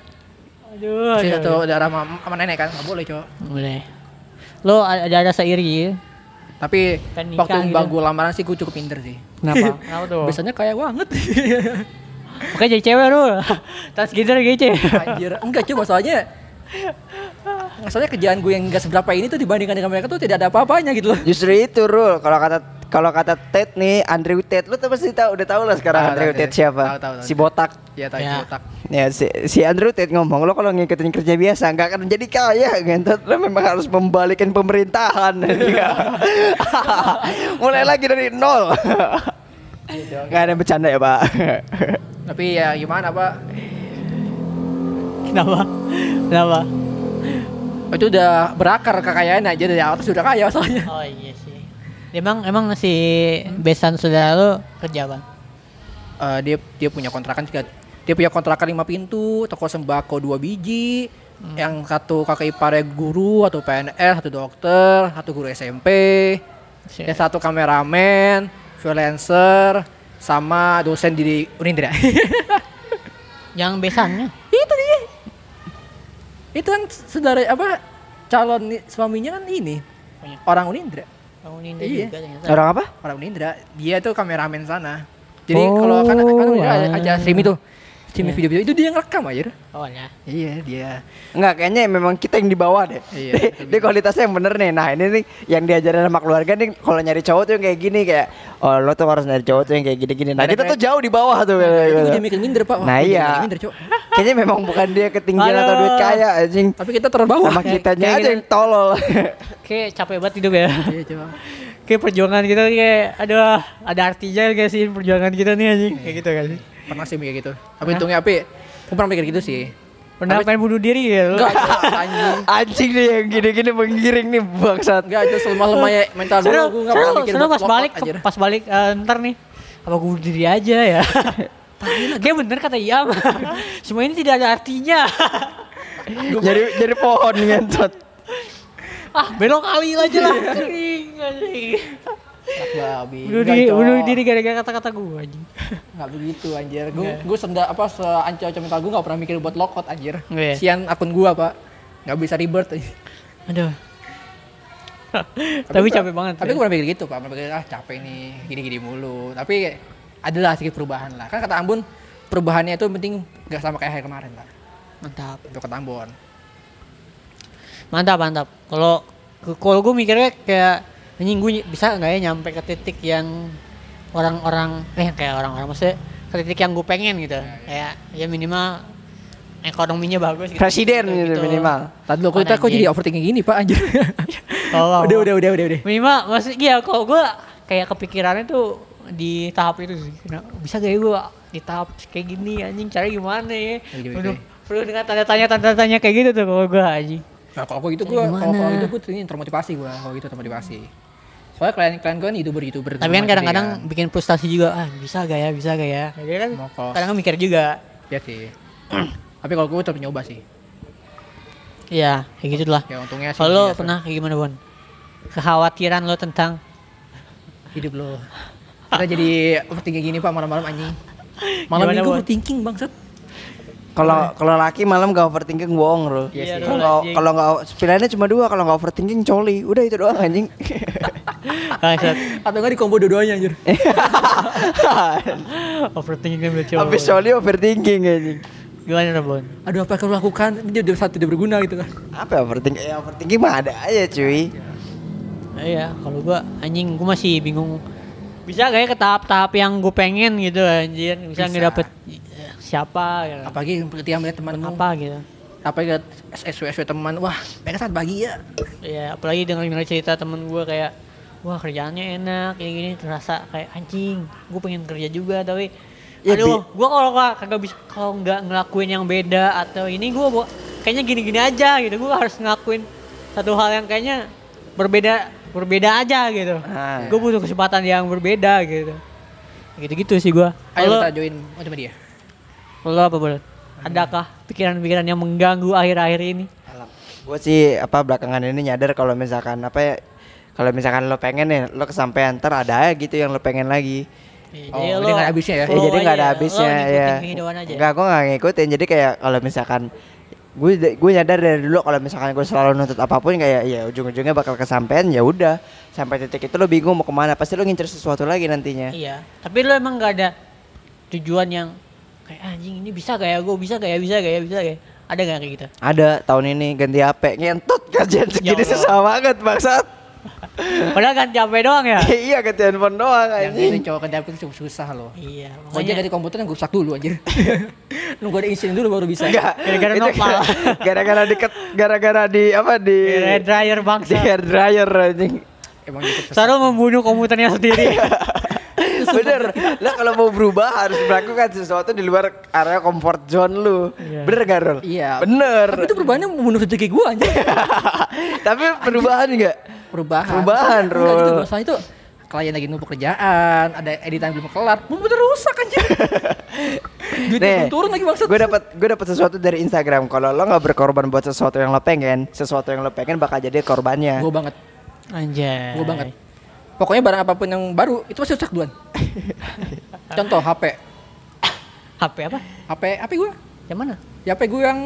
B: Aduh,
A: Si satu darah sama, sama nenek kan, gak boleh cok
B: Boleh. Lu ada ada seiri.
A: Tapi
B: Kan nikah
A: waktu mbak
B: gitu.
A: gue lamaran sih gue cukup pinter sih
B: Kenapa? Kenapa tuh?
A: Biasanya kaya banget
B: Oke jadi cewek lu. Tas gider gitu.
A: Anjir, enggak cuma soalnya Soalnya kerjaan gue yang gak seberapa ini tuh dibandingkan dengan mereka tuh tidak ada apa-apanya gitu loh
C: Justru itu Rul. Kalau kata kalau kata Ted nih, Andrew Ted lu tuh pasti tahu udah tahu lah
A: Tahu,
C: sekarang Andrew
A: tahu,
C: Ted
A: tahu.
C: siapa?
A: Tahu, tahu, tahu.
C: Si botak.
A: Iya tahu
B: Ya.
A: ya. otak.
C: Ya si, si Andrew Tate ngomong lo kalau ngikutin kerja biasa nggak akan jadi kaya gentot lo memang harus membalikin pemerintahan Iya. mulai lagi dari nol nggak ada yang bercanda ya pak
A: Tapi ya gimana pak?
B: Kenapa? Kenapa?
A: Oh, Itu udah berakar kekayaan aja dari atas sudah kaya soalnya.
B: Oh iya sih. Emang emang si besan saudara lu kerja apa?
A: Eh, dia dia punya kontrakan juga. Dia punya kontrakan lima pintu, toko sembako dua biji, yang satu kakak iparnya guru atau PNS, satu dokter, satu guru SMP,
B: Si-
A: yang satu kameramen, freelancer, sama dosen di Unindra.
B: Yang besannya.
A: itu dia. Itu kan saudara apa calon ni- suaminya kan ini
B: Banyak.
A: orang Unindra.
B: Bangun Oh, ini
A: Iya.
B: juga ternyata.
C: Orang apa?
A: Orang Unindra, dia tuh kameramen sana. Jadi
C: Oh,
A: kalau kan kan Unindra ada,
B: wah.
A: ada streaming tuh. Streaming
B: Iya.
A: video-video itu dia yang rekam aja.
B: Oh ya.
A: Iya, dia.
C: Enggak, kayaknya memang kita yang dibawa deh.
A: Iya.
C: Dia- dia kualitasnya yang bener nih. Nah ini nih yang diajarin sama keluarga nih kalau nyari cowok tuh yang kayak gini kayak oh lo tuh harus nyari cowok tuh yang kayak gini-gini. Nah kita tuh jauh di bawah tuh.
A: Nah, Itu dia bikin minder, Pak. Wah,
C: Nah,
A: gua jadi
C: iya.
A: bikin minder, Cok.
C: Kayaknya memang bukan dia ketinggian atau
B: Halo.
C: duit kaya anjing.
A: Tapi kita terbawa.
C: Sama
B: Kayak-
C: kitanya
B: kayak
C: aja
B: gitu.
C: yang tolol.
B: Kayak capek banget hidup ya.
A: Iya, coba.
B: kayak perjuangan kita nih kayak aduh ada artinya kayak sih perjuangan kita nih anjing kayak gitu kan sih.
A: Pernah sih mikir gitu. Tapi untungnya apa? Aku pernah mikir gitu sih.
B: Pernah pengen bunuh diri ya lu?
A: Enggak, anjing.
C: anjing nih yang gini-gini menggiring nih bangsat.
A: Enggak, itu selama lemahnya mental gue,
B: Seru,
A: gue enggak
B: seru,
A: pernah mikir
B: seru
A: buat
B: pas
A: walkout,
B: balik,
A: anjir.
B: pas balik eh, ntar nih apa gue bunuh diri aja ya? Kayak bener kata Iam, semua ini tidak ada artinya.
C: jadi jadi pohon ngentot.
B: ah belok kali aja lah, kering anjing.
A: Tak babi.
B: Bunuh
A: Enggak,
B: diri,
A: Cok.
B: bunuh diri gara-gara kata-kata gue anjing.
A: Enggak begitu anjir. Gue gue senda apa seancam mental gue enggak pernah mikir buat lockout anjir.
B: Iya.
A: Sian akun gua, Pak. Enggak bisa ribet.
B: Aduh. Tapi capek banget.
A: Tapi
B: ya.
A: gue pernah mikir gitu, Pak. Pernah mikir ah capek nih, gini-gini mulu. Tapi adalah sedikit perubahan lah. Kan kata Ambon, perubahannya itu penting enggak sama kayak hari kemarin, Pak.
B: Mantap.
A: Itu kata Ambon.
B: Mantap, mantap. Kalau ke- kalau gue mikirnya kayak anjing gue ny- bisa nggak ya nyampe ke titik yang orang-orang eh kayak orang-orang maksudnya ke titik yang gue pengen gitu.
A: Iya,
B: Kayak ya minimal ekonominya bagus gitu.
C: Presiden gitu,
B: Gitu-gitu.
C: minimal.
A: Tadi lo kok
B: Apaan,
A: kita kok jadi
B: anjing?
A: overthinking gini, Pak, anjir.
B: Oh,
A: udah, udah, udah, udah, udah.
B: Minimal maksud iya kalau gue kayak kepikirannya tuh di tahap itu sih. Nah, bisa gak ya gue di tahap kayak gini anjing cara gimana ya?
A: gitu,
B: Penuh,
A: gitu.
B: penuh dengan tanda tanya tanda tanya kayak gitu tuh kalau gue anjing.
A: Nah, kalau gue gitu gue kalau kalau gitu gue ini termotivasi gue kalau gitu termotivasi. Soalnya klien klien gue kan youtuber youtuber.
B: Tapi kan kadang-kadang bikin frustasi juga. Ah, bisa gak ya? Bisa gak ya? Kayak gitu kan
A: Mokos.
B: kadang mikir juga.
A: ya sih. Tapi kalau gue tetap nyoba sih.
B: Iya, kayak gitu lah.
A: Ya untungnya sih.
B: Kalau
A: ya,
B: lo pernah kayak gimana, Bon? Kekhawatiran lo tentang
A: hidup lo. Kita jadi overthinking gini pak malam-malam anjing. Malam
B: Gimana,
A: minggu
B: Bun?
A: overthinking bangsat.
C: Kalau kalau laki malam gak overthinking bohong bro.
B: Iya sih.
C: Kalau
B: Anjing.
C: kalau nggak pilihannya cuma dua kalau nggak overthinking coli. Udah itu doang anjing.
B: bangsat
A: Atau enggak di combo dua-duanya anjir.
B: overthinking dan coba.
C: Habis coli overthinking anjing.
B: Gimana, Bon?
A: Aduh apa yang aku lakukan? Ini udah satu udah berguna gitu kan.
C: Apa overthinking? Ya overthinking mah ada aja
B: Eh,
C: cuy.
B: Iya, kalau gua anjing gua masih bingung. Bisa gak ya ke tahap-tahap yang gue pengen gitu anjir?
A: Bisa.
B: Bisa, nggak dapet eh, siapa gitu. Apa,
A: Apalagi ketika melihat temanmu.
B: gitu.
A: Apalagi lihat SW SW teman. Wah mereka sangat bahagia.
B: Iya, apalagi dengar dengar cerita temen gua kayak wah kerjaannya enak kayak gini terasa kayak anjing gue pengen kerja juga tapi
A: Iya,
C: Ya,
B: aduh gue kalau nggak- kagak bisa kalau nggak ngelakuin yang beda atau ini gue kayaknya gini-gini aja gitu gue harus ngelakuin satu hal yang kayaknya berbeda berbeda aja gitu
A: iya.
C: Ah.
B: gue butuh kesempatan yang berbeda gitu gitu-gitu sih gua
A: Ayo
B: Kalau-
A: kita join oh, cuma dia.
B: Lo apa boleh? Adakah pikiran-pikiran yang mengganggu akhir-akhir ini?
C: Gue sih apa belakangan ini nyadar kalau misalkan apa ya kalau misalkan lo pengen ya lo kesampaian ntar ada aja gitu yang lo pengen lagi.
A: Oh, jadi nggak ada iya. habisnya ya?
C: Ya,
B: Oh,
C: jadi nggak ada habisnya ya.
B: iya. Kehidupan aja.
C: Enggak, gue nggak ngikutin. Jadi kayak kalau misalkan gue gue nyadar dari dulu kalau misalkan gue selalu nuntut apapun kayak ya ujung-ujungnya bakal kesampean ya udah sampai titik itu lo bingung mau kemana pasti lo ngincer sesuatu lagi nantinya
A: Eh.
B: Iya. Tapi lo emang nggak ada tujuan yang kayak anjing ini bisa gak ya gue bisa gak ya bisa gak ya bisa gak ya? Ada gak kayak gitu?
C: ada tahun ini ganti HP ngentot kerjaan
B: Ya
C: segini
B: Allah.
C: susah banget bangsat
B: Padahal kan capek doang ya.
C: iya ganti handphone doang
A: Yang
C: anjing
A: ini cowok kerja aku cukup susah loh.
B: iya.
A: Gua aja
B: Makanya
A: ganti komputer yang rusak dulu anjir. Nunggu ada insiden dulu baru bisa.
C: Enggak,
B: Gara-gara
C: itu
B: nopal.
C: gara- Gara-gara di ket- gara-gara di apa di
B: hair dryer
C: di
A: Iya.
B: bangsa.
C: hair dryer anjing.
A: Emang gitu. Iya.
B: Selalu membunuh komputernya sendiri.
C: Bener. Lah kalau mau berubah harus melakukan sesuatu di luar area comfort zone lu. Bener gak Rol?
A: Iya.
C: Bener.
A: Tapi itu perubahannya membunuh rezeki gue aja.
C: Tapi perubahan enggak?
A: Perubahan.
C: Perubahan,
A: Enggak gitu
C: Rul.
A: bro. Soalnya itu klien lagi nunggu pekerjaan, ada editan belum kelar, mau bener rusak aja. Duitnya belum turun lagi maksud.
C: Gue dapat gue dapat sesuatu dari Instagram. Kalau lo nggak berkorban buat sesuatu yang lo pengen, sesuatu yang lo pengen bakal jadi korbannya.
A: Gue banget,
B: Anjay.
A: gue banget. Pokoknya barang apapun yang baru itu pasti rusak duluan. Contoh HP,
B: HP apa?
A: HP, HP gue,
B: Yang mana?
A: ya HP gue yang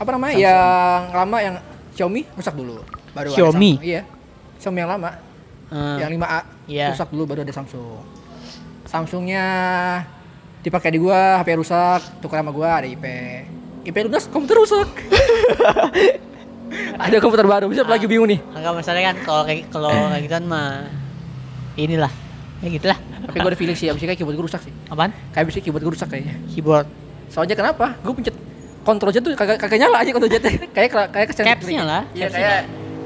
A: apa namanya yang lama yang Xiaomi rusak dulu, baru ada
B: Xiaomi?
A: Samsung. Iya, Xiaomi yang lama,
B: Eh,
A: yang 5A
B: Iya.
A: rusak dulu baru ada Samsung. Samsungnya dipakai di gua, HP rusak, tukar sama gua ada IP. IP lunas, komputer rusak. ada komputer baru, bisa lagi
B: Ah.
A: bingung nih.
B: Enggak masalah kan kalau kayak kalau
A: Eh.
B: kayak gitu kan mah inilah. Ya gitulah.
A: Tapi gua ada feeling sih, abis itu kayak keyboard gua rusak sih.
B: Apaan?
A: Kayak abis itu keyboard gua rusak kayaknya.
B: Keyboard.
A: Soalnya kenapa? Gua pencet kontrol Z tuh kagak kagak nyala aja kontrol Z. kayak kayak kesan
B: Capsnya lah,
A: Iya
B: capsnya.
A: kayak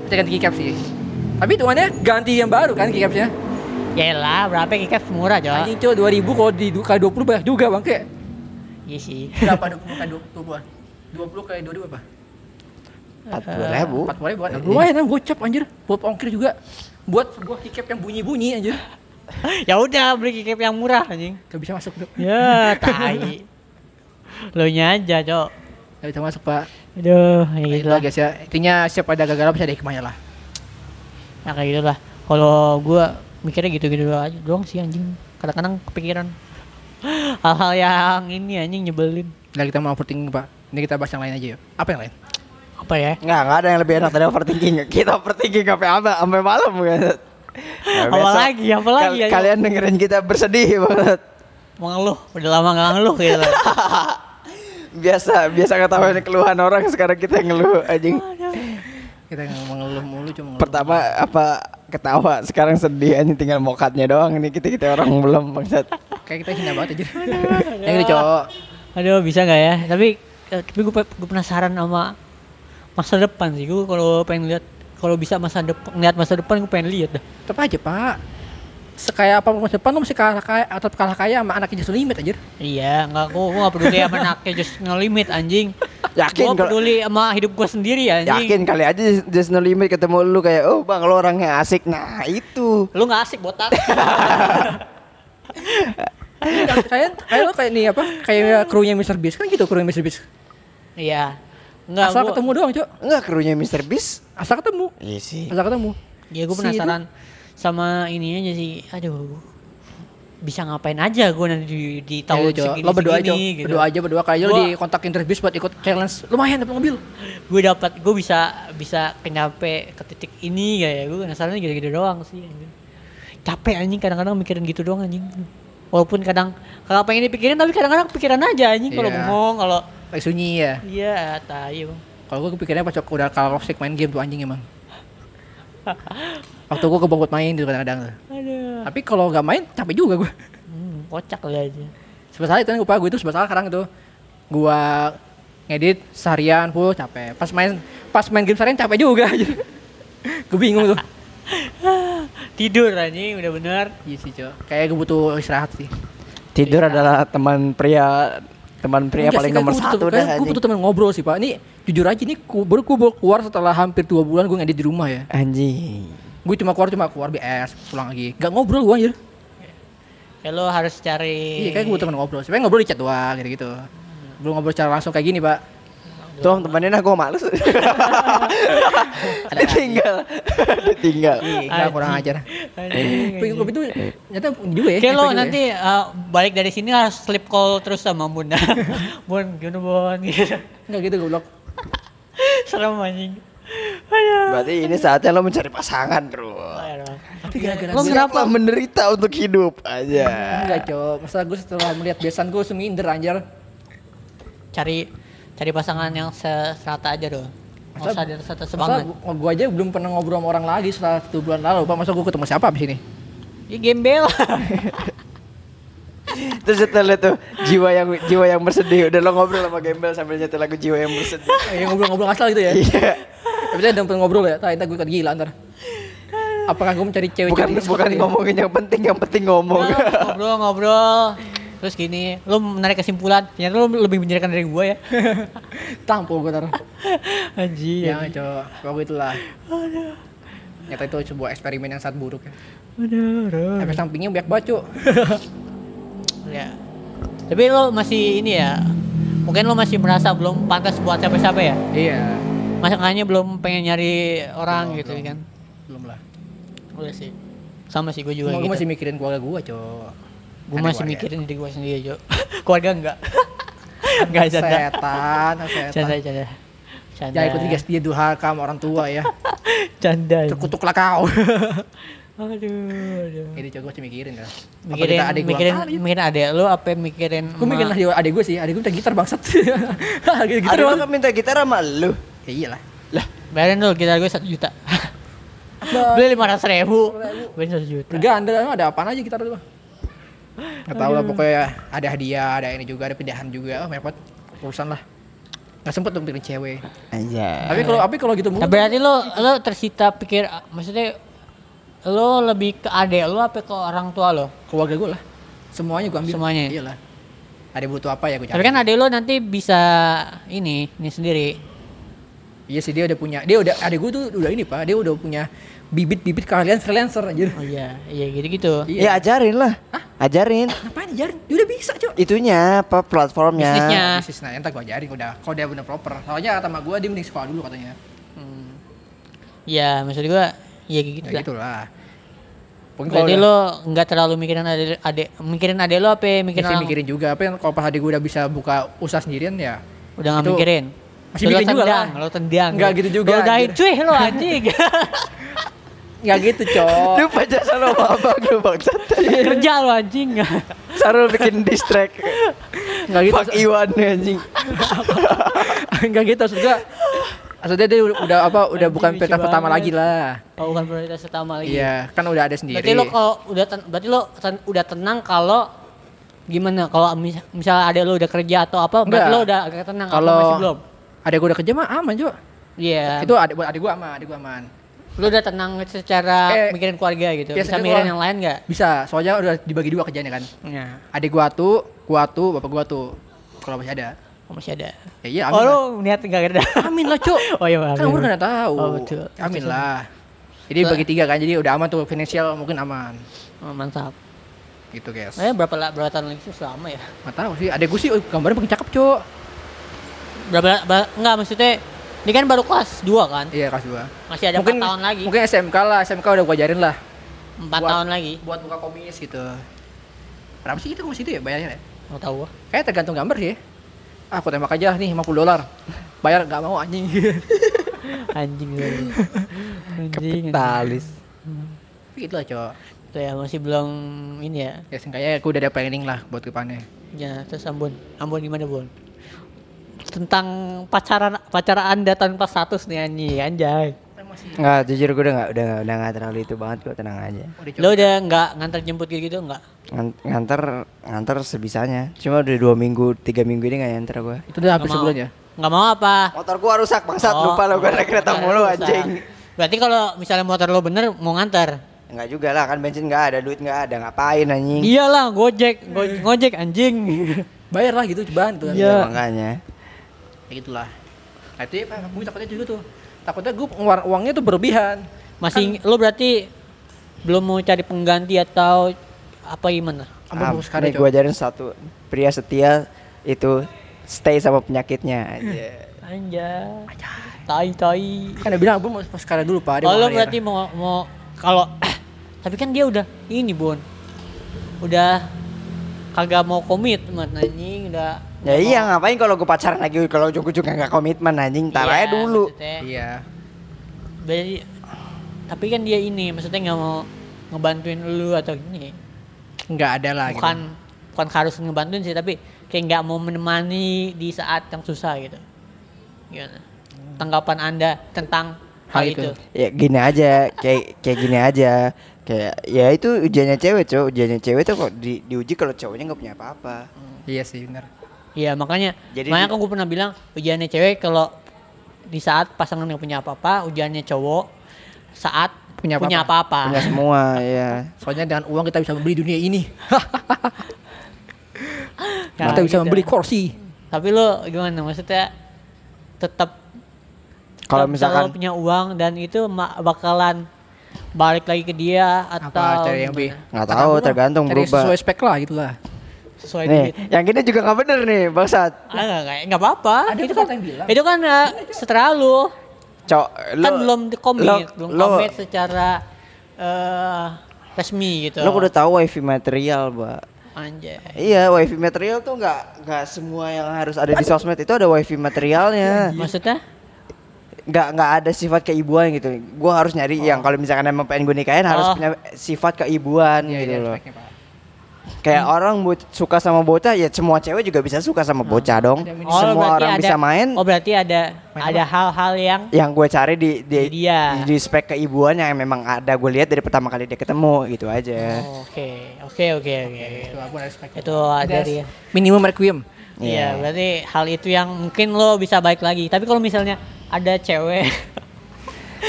A: kita ganti keycap sih. Tapi hitungannya ganti yang baru kan keycapnya.
B: Yaelah, Ya berapa keycap murah, Jo?
A: Anjing cuma 2000 kalau di kali 20 banyak juga bang kayak.
B: Iya sih.
A: Berapa 20 kali 20 an? 20 kali 2000 apa?
C: 40
B: Ya,
C: ribu. Iya.
A: 40 ribu. Lumayan kan gocap anjir. Buat ongkir juga. Buat sebuah keycap yang bunyi-bunyi anjir.
B: ya udah beli keycap yang murah anjing.
A: Gak bisa masuk dok.
B: Ya, tai. Lo nya aja, Jo.
A: Gak bisa masuk pak.
B: Aduh, ya gitu
A: Itu
B: lah.
A: lah guys ya. Intinya siap ada gagal bisa ada hikmahnya lah.
B: Nah, kayak gitu lah. Kalau gua mikirnya gitu-gitu aja doang sih anjing. Kadang-kadang kepikiran hal-hal yang ini anjing nyebelin.
A: Nah kita mau overthinking pak. Ini kita bahas yang lain aja yuk. Apa yang lain?
B: Apa ya?
C: Nggak, nggak ada yang lebih enak dari overthinking. Kita overthinking sampai apa? Sampai malam kan. Nah,
B: Apa
C: besok
B: lagi? Apa lagi,
A: ya.
B: ayo?
C: Kalian dengerin kita bersedih banget.
B: Mau ngeluh, udah lama gak ngeluh gitu. lah.
C: Biasa, biasa ketahuan keluhan orang sekarang kita ngeluh anjing.
A: Kita nggak mau ngeluh mulu cuma ngeluh.
C: Pertama apa ketawa, sekarang sedih anjing tinggal mokatnya doang nih kita kita orang belum bangsat.
A: Kayak kita hina banget aja. yang ini cowok.
B: Aduh, bisa nggak ya? Tapi eh, tapi gue penasaran sama masa depan sih. Gue kalau pengen lihat kalau bisa masa depan lihat masa depan gue pengen lihat dah.
A: Tetap aja pak. Sekaya apa masa depan lu mesti kalah kaya atau kalah kaya sama anaknya justru limit aja.
B: Iya, nggak gue gue nggak peduli sama anaknya just ngelimit anjing.
C: Yakin
B: Gue
C: kalau-
B: peduli sama hidup gue sendiri anjing.
C: Yakin kali aja Just No Limit ketemu lu kayak oh bang lo orangnya asik nah itu
B: Lu nggak asik botak.
A: Kayak kayak lu kayak nih apa? Kayak krunya Mr. Beast kan gitu krunya Mr. Beast.
B: Iya. Enggak
A: Asal
B: gua,
A: ketemu doang cok.
C: enggak krunya Mr. Beast
A: Asal ketemu.
C: iya sih
A: Asal ketemu.
B: Ya gue
A: Si
B: penasaran sama ini aja sih. Aduh. Bisa ngapain aja gue nanti di, di
A: Tahu
B: tahun segini,
A: Iya, Ya lo berdoa aja,
B: segini, gitu.
A: berdoa aja berdoa kali aja lo
B: Gua-
A: dikontakin Travis buat ikut challenge. Lumayan dapat mobil.
B: gue dapat gue bisa bisa nyampe ke titik ini gak ya gue penasaran gitu-gitu doang sih anjing. capek anjing kadang-kadang mikirin gitu doang anjing walaupun kadang kalau pengen dipikirin tapi kadang-kadang pikiran aja anjing kalau
A: Iya.
B: bengong kalau
A: Kayak sunyi ya.
B: iya tai bang
A: Kalau gue pikirnya pas udah kalah toxic main game tuh anjing emang. Waktu gue kebongkot main gitu kadang-kadang. tuh.
B: aduh
A: Tapi kalau nggak main capek juga gue.
B: hmm, kocak lu aja
A: Sebesar itu kan gue gue itu sebesar sekarang itu. Gue ngedit seharian full capek. Pas main pas main game seharian capek juga. gue bingung tuh.
B: tidur anjing udah bener
A: Iya sih, Cok. Kayak gue butuh istirahat sih.
C: tidur adalah teman pria teman pria
A: Enggak
C: paling
A: sih, kayak
C: nomor
A: gua
C: satu
A: butuh-
C: dah
A: kayak Gue
C: anjing
A: butuh temen ngobrol sih pak. Ini jujur aja ini ku, baru gue keluar setelah hampir dua bulan gue ngedit di rumah ya.
C: anjing
A: Gue cuma keluar cuma keluar BS pulang lagi. Gak ngobrol gue anjir.
B: ya lo harus cari
A: Iya kayak gue butuh temen ngobrol. Sebenernya ngobrol di chat doang gitu gitu. Belum ngobrol secara langsung kayak gini pak.
C: tuh temenin aku males ditinggal ditinggal
A: Iya kurang ajar. Tapi
B: Anjing, anjing.
A: gue itu ternyata ini juga ya.
B: Oke
A: efek
B: lo
A: juga ya.
B: nanti uh, balik dari sini harus sleep call terus sama bunda. bun, gimana bun? Gitu.
A: Enggak gitu goblok.
B: Serem anjing. Aduh.
C: berarti ini saatnya lo mencari pasangan bro
B: Aduh.
A: Tapi gara-gara
B: Lo
A: gue-
B: kenapa?
C: Siaplah menderita untuk hidup aja
A: Enggak cok. Masa gue setelah melihat besan gue langsung minder anjir.
B: Cari cari pasangan yang se- serata aja dong. Nggak usah ada serata
A: Masa
B: sebanget.
A: gue aja belum pernah ngobrol sama orang lagi setelah satu bulan lalu pak. Masa gue ketemu siapa abis ini?
B: Ini gembel.
C: Terus setel itu jiwa yang jiwa yang bersedih. Udah lo ngobrol sama Gembel sambil nyetel lagu jiwa yang bersedih.
A: Eh, ngobrol-ngobrol asal gitu ya.
C: Iya.
A: Tapi saya udah ngobrol ya, tadi gue ikut gila ntar. apakah gue mencari cewek
C: bukan bukan ngomongin yang penting yang penting ngomong
B: Nah. ngobrol ngobrol terus gini lu menarik kesimpulan ternyata lu lebih menyerahkan dari gua ya
A: tampol gue taruh
B: anjir
A: ya coba pokoknya itulah nyata itu sebuah eksperimen yang sangat buruk ya
B: aduh
A: efek sampingnya banyak banget Cuk.
B: ya tapi lu masih ini ya mungkin lu masih merasa belum pantas buat siapa-siapa ya
A: iya
B: masalahnya belum pengen nyari orang gitu kan
A: belum lah
B: udah sih sama sih gua juga
A: gue
B: gitu
A: masih mikirin keluarga gue Cuk. Ada
B: gue masih
A: keluarga.
B: mikirin diri gue sendiri Jo keluarga enggak enggak canda
A: setan setan
B: canda canda canda
A: jangan ikut gas dia durhaka sama orang tua ya
B: canda
A: terkutuklah kau
B: aduh aduh
A: ini coba gue mikirin kan
B: mikirin
A: ada gue
B: mikirin mikirin adek lu apa mikirin
A: gue mikirin
B: emak?
A: adik adik gue sih adik gue minta gitar bangsat Adik gitar
C: Aduh,
A: doang
C: lu minta gitar sama lu
A: ya iyalah
C: lah
B: bayarin dulu gitar gue satu juta beli Nah. lima ratus ribu beli satu juta
A: Ganda emang ada apaan aja gitar lu Gak tau lah pokoknya ada hadiah, ada ini juga, ada pindahan juga, oh repot urusan lah. Gak sempet dong mikirin cewek.
C: aja
A: Tapi kalau tapi kalau gitu mulu,
B: nah, berarti lu lu tersita pikir maksudnya lu lebih ke adek lu apa ke orang tua lo
A: keluarga gue lah, semuanya gue ambil.
B: Semuanya? ya?
A: Iyalah. Ada butuh apa ya gue
B: tapi
A: cari.
B: kan adek lu nanti bisa ini ini sendiri
A: Iya sih dia udah punya, dia udah ada gue tuh udah ini pak, dia udah punya bibit-bibit kalian freelancer anjir.
B: Oh iya, iya gitu-gitu.
A: Iya.
C: ya ajarin lah ajarin
A: Ngapain ajarin? Dia udah bisa cuy.
C: itunya apa platformnya
B: Bisnisnya. Nah.
A: Bisnis nah, entar gue ajarin udah, kalau dia bener proper. Soalnya kata sama gue dia mending sekolah dulu katanya.
B: Ya, maksud gua ya kayak gitu
A: Ya
B: lah.
A: gitulah. Pokoknya kalau
B: Berarti
A: udah-
B: lo nggak terlalu mikirin adek, adek mikirin adek lo apa ya,
A: Iya
B: mikirin
A: sih
B: orang?
A: mikirin juga, tapi kan kalau pas adik gue udah bisa buka usaha sendirian ya
B: Udah nggak
A: Itu
B: mikirin.
A: masih
B: Lo
A: mikirin juga
B: tendang,
A: lah.
B: Lo tendang.
A: Nggak gitu juga,
B: Lo udahin
A: anjir.
B: cuy lo anjing.
A: nggak gitu cok
C: lu pacar sama abang lu bangsat
B: Kerja lo anjing.
C: Sarul bikin distrack
A: nggak gitu
C: Fuck Iwan anjing
A: nggak gitu maksud gue maksudnya dia udah udah apa udah
B: Anjing,
A: bukan
B: lucu
A: pilihan pertama
B: banget.
A: lagi lah
B: Oh, bukan prioritas utama lagi.
A: iya kan udah ada
B: Berarti
A: sendiri
B: lo kalau udah ten- berarti lo ten- udah tenang kalau gimana kalau mis- misalnya adek lo udah kerja atau apa
A: Nggak.
B: berarti lo udah agak tenang apa
A: kalau
B: masih belum?
A: ada gue udah kerja mah aman cok
B: Iya.
A: itu adik buat adik gue aman adik gue aman
B: Lu udah tenang secara
A: Eh,
B: mikirin keluarga gitu.
A: iya,
B: Bisa
A: secara
B: mikirin
A: keluarga.
B: yang lain nggak?
A: bisa soalnya udah dibagi dua kerjanya kan
B: Iya.
A: adik gue tuh gue tuh bapak gue tuh kalau masih ada
B: masih ada.
A: ya iya
B: oh,
A: amin
B: lu
A: lah
B: niat enggak ada.
A: amin lah cok
B: oh iya,
A: kan umur nggak tahu
B: Oh, betul.
A: amin
B: Betul.
A: lah jadi bagi tiga kan jadi udah aman tuh finansial mungkin aman
B: Oh, mantap.
A: gitu guys
B: Eh, berapa la- berapa tahun lagi sih selama ya?
A: Gak tahu sih, adek gue sih uh, gambarnya paling cakep cok
B: Berapa ba- enggak maksudnya ini kan baru kelas 2 kan?
A: Iya kelas 2
B: Masih ada empat 4 tahun lagi.
A: Mungkin SMK lah, SMK udah gue ajarin lah
B: 4
A: buat-
B: tahun lagi.
A: Buat buka komis gitu Berapa sih kita komis itu ya bayarnya ya?
B: Mau tahu gua.
A: Kayak tergantung gambar sih ya. Ah, Aku tembak aja nih 50 dolar Bayar gak mau anjing
B: Anjing lu. Anjing.
C: Kapitalis
A: Tapi Gitu lah cok
B: Tuh ya masih belum ini ya.
A: Ya seenggaknya gue udah ada planning lah buat depannya
B: Ya, terus Ambon. Ambon gimana, Bon? Tentang pacaran pacaran Anda tanpa status nih anjing, anjay.
C: Nggak jujur gue udah nggak udah nggak- udah nggak terlalu itu banget kok tenang aja
A: Udah cok
B: Lo udah nggak nganter jemput gitu-gitu nggak?
C: Ngan- nganter nganter sebisanya cuma udah dua minggu tiga minggu ini nggak nganter gue
A: Itu udah hampir sebulan ya
B: Nggak mau apa?
C: motor gua rusak bangsat
B: Oh,
C: lupa lo gue naik kereta
B: motor
C: mulu
B: rusak.
C: anjing
B: Berarti kalau misalnya motor lo bener mau nganter?
C: Enggak juga lah kan bensin nggak ada duit nggak ada ngapain anjing
B: Iyalah, Iya gojek, Go- ngojek anjing.
A: Bayar lah gitu, cobaan tuh kan
B: Iya.
C: Ya, makanya
A: Ya gitu lah Nah itu ya, gue takutnya juga tuh Takutnya gue ngeluar- uangnya tuh berlebihan
B: Masih lo berarti belum mau cari pengganti atau apa gimana?
A: Ampun
C: Ah,
A: fokus sekarang
C: nih gua
A: cok
C: ajarin satu pria setia itu stay sama penyakitnya
B: Hmm.
C: aja
B: Anjay. Tai tai.
A: Kan dia bilang, gue mau fokus sekarang dulu pak dia mau
B: Oh lo
A: bayar."
B: berarti mau mau kalau tapi kan dia udah ini Bon. Udah kagak mau komitmen anjing udah
C: ya iya ngapain kalau gue pacaran lagi kalau ujung-ujung nggak komitmen anjing tar
B: Iya,
C: aja dulu
B: maksudnya.
A: Iya
B: Berarti tapi kan dia ini maksudnya nggak mau ngebantuin lu atau gini.
A: nggak ada lah gitu.
B: Bukan bukan harus ngebantuin sih tapi kayak nggak mau menemani di saat yang susah gitu. Gimana?
C: Hmm.
B: Tanggapan Anda tentang
A: Hal
B: hal, itu.
A: itu.
C: ya gini aja kayak kayak gini aja kayak ya itu ujiannya cewek cowok ujiannya cewek tuh kok di, diuji kalau cowoknya nggak punya apa-apa
A: gitu. Iya sih benar.
B: Iya, makanya
C: Jadi
B: makanya
C: di-
B: kan gue pernah bilang ujiannya cewek kalau di saat pasangan nggak punya apa-apa, ujiannya cowok saat
A: punya apa?
B: punya apa-apa.
C: punya semua ya
A: Soalnya dengan uang kita bisa membeli dunia ini.
B: Nah,
A: kita bisa
B: gitu.
A: membeli kursi.
B: Tapi lo gimana maksudnya tetap
C: kalau
B: tetap
C: misalkan
B: lo punya uang dan itu ma- bakalan balik lagi ke dia atau
A: Apa cari yang
B: gimana?
A: lebih?
C: nggak tahu tergantung
A: Cari
C: berubah
A: sesuai spek lah gitu lah.
B: sesuai
C: nih
B: duit.
C: yang gini juga nggak bener nih bangsat
B: Ah, nggak nggak- nggak apa-apa.
A: Ada
B: itu
A: tuh
B: kan
A: kata yang bilang.
B: itu kan eh, setera lu.
C: cok
B: kan
C: lu-
B: belum di komit,
C: lo,
B: belum
C: lo,
B: komit secara eh, resmi gitu.
C: lo udah tahu wifi material mbak
B: Anjay.
C: Iya, wifi material tuh nggak nggak semua yang harus ada di sosmed itu ada
A: Iya.
C: wifi materialnya.
B: Maksudnya?
C: Nggak nggak ada sifat keibuan gitu. Gua harus nyari yang kalau misalkan emang pengen gue nikahin harus
B: Oh.
C: punya sifat keibuan
A: Iya,
C: gitu
A: iya,
C: loh.
A: speknya, Pak.
C: Kayak
B: Hmm.
C: orang bu- suka sama bocah ya semua cewek juga bisa suka sama bocah dong.
A: Ada minimal.
C: semua
B: Oh, berarti
C: orang
B: ada-
C: bisa main.
B: Oh, berarti ada ada hal-hal yang
C: Yang gue cari di di,
B: Dia.
C: di spek keibuan yang memang ada gue lihat dari pertama kali dia ketemu gitu aja.
B: Oh, Oke, oke, oke, oke.
A: Itu aku ada speknya.
B: Itu ada
A: Ada
B: dia.
A: Minimum requiem.
C: Iya.
B: Iya, berarti hal itu yang mungkin lo bisa balik lagi. Tapi kalau misalnya ada cewek,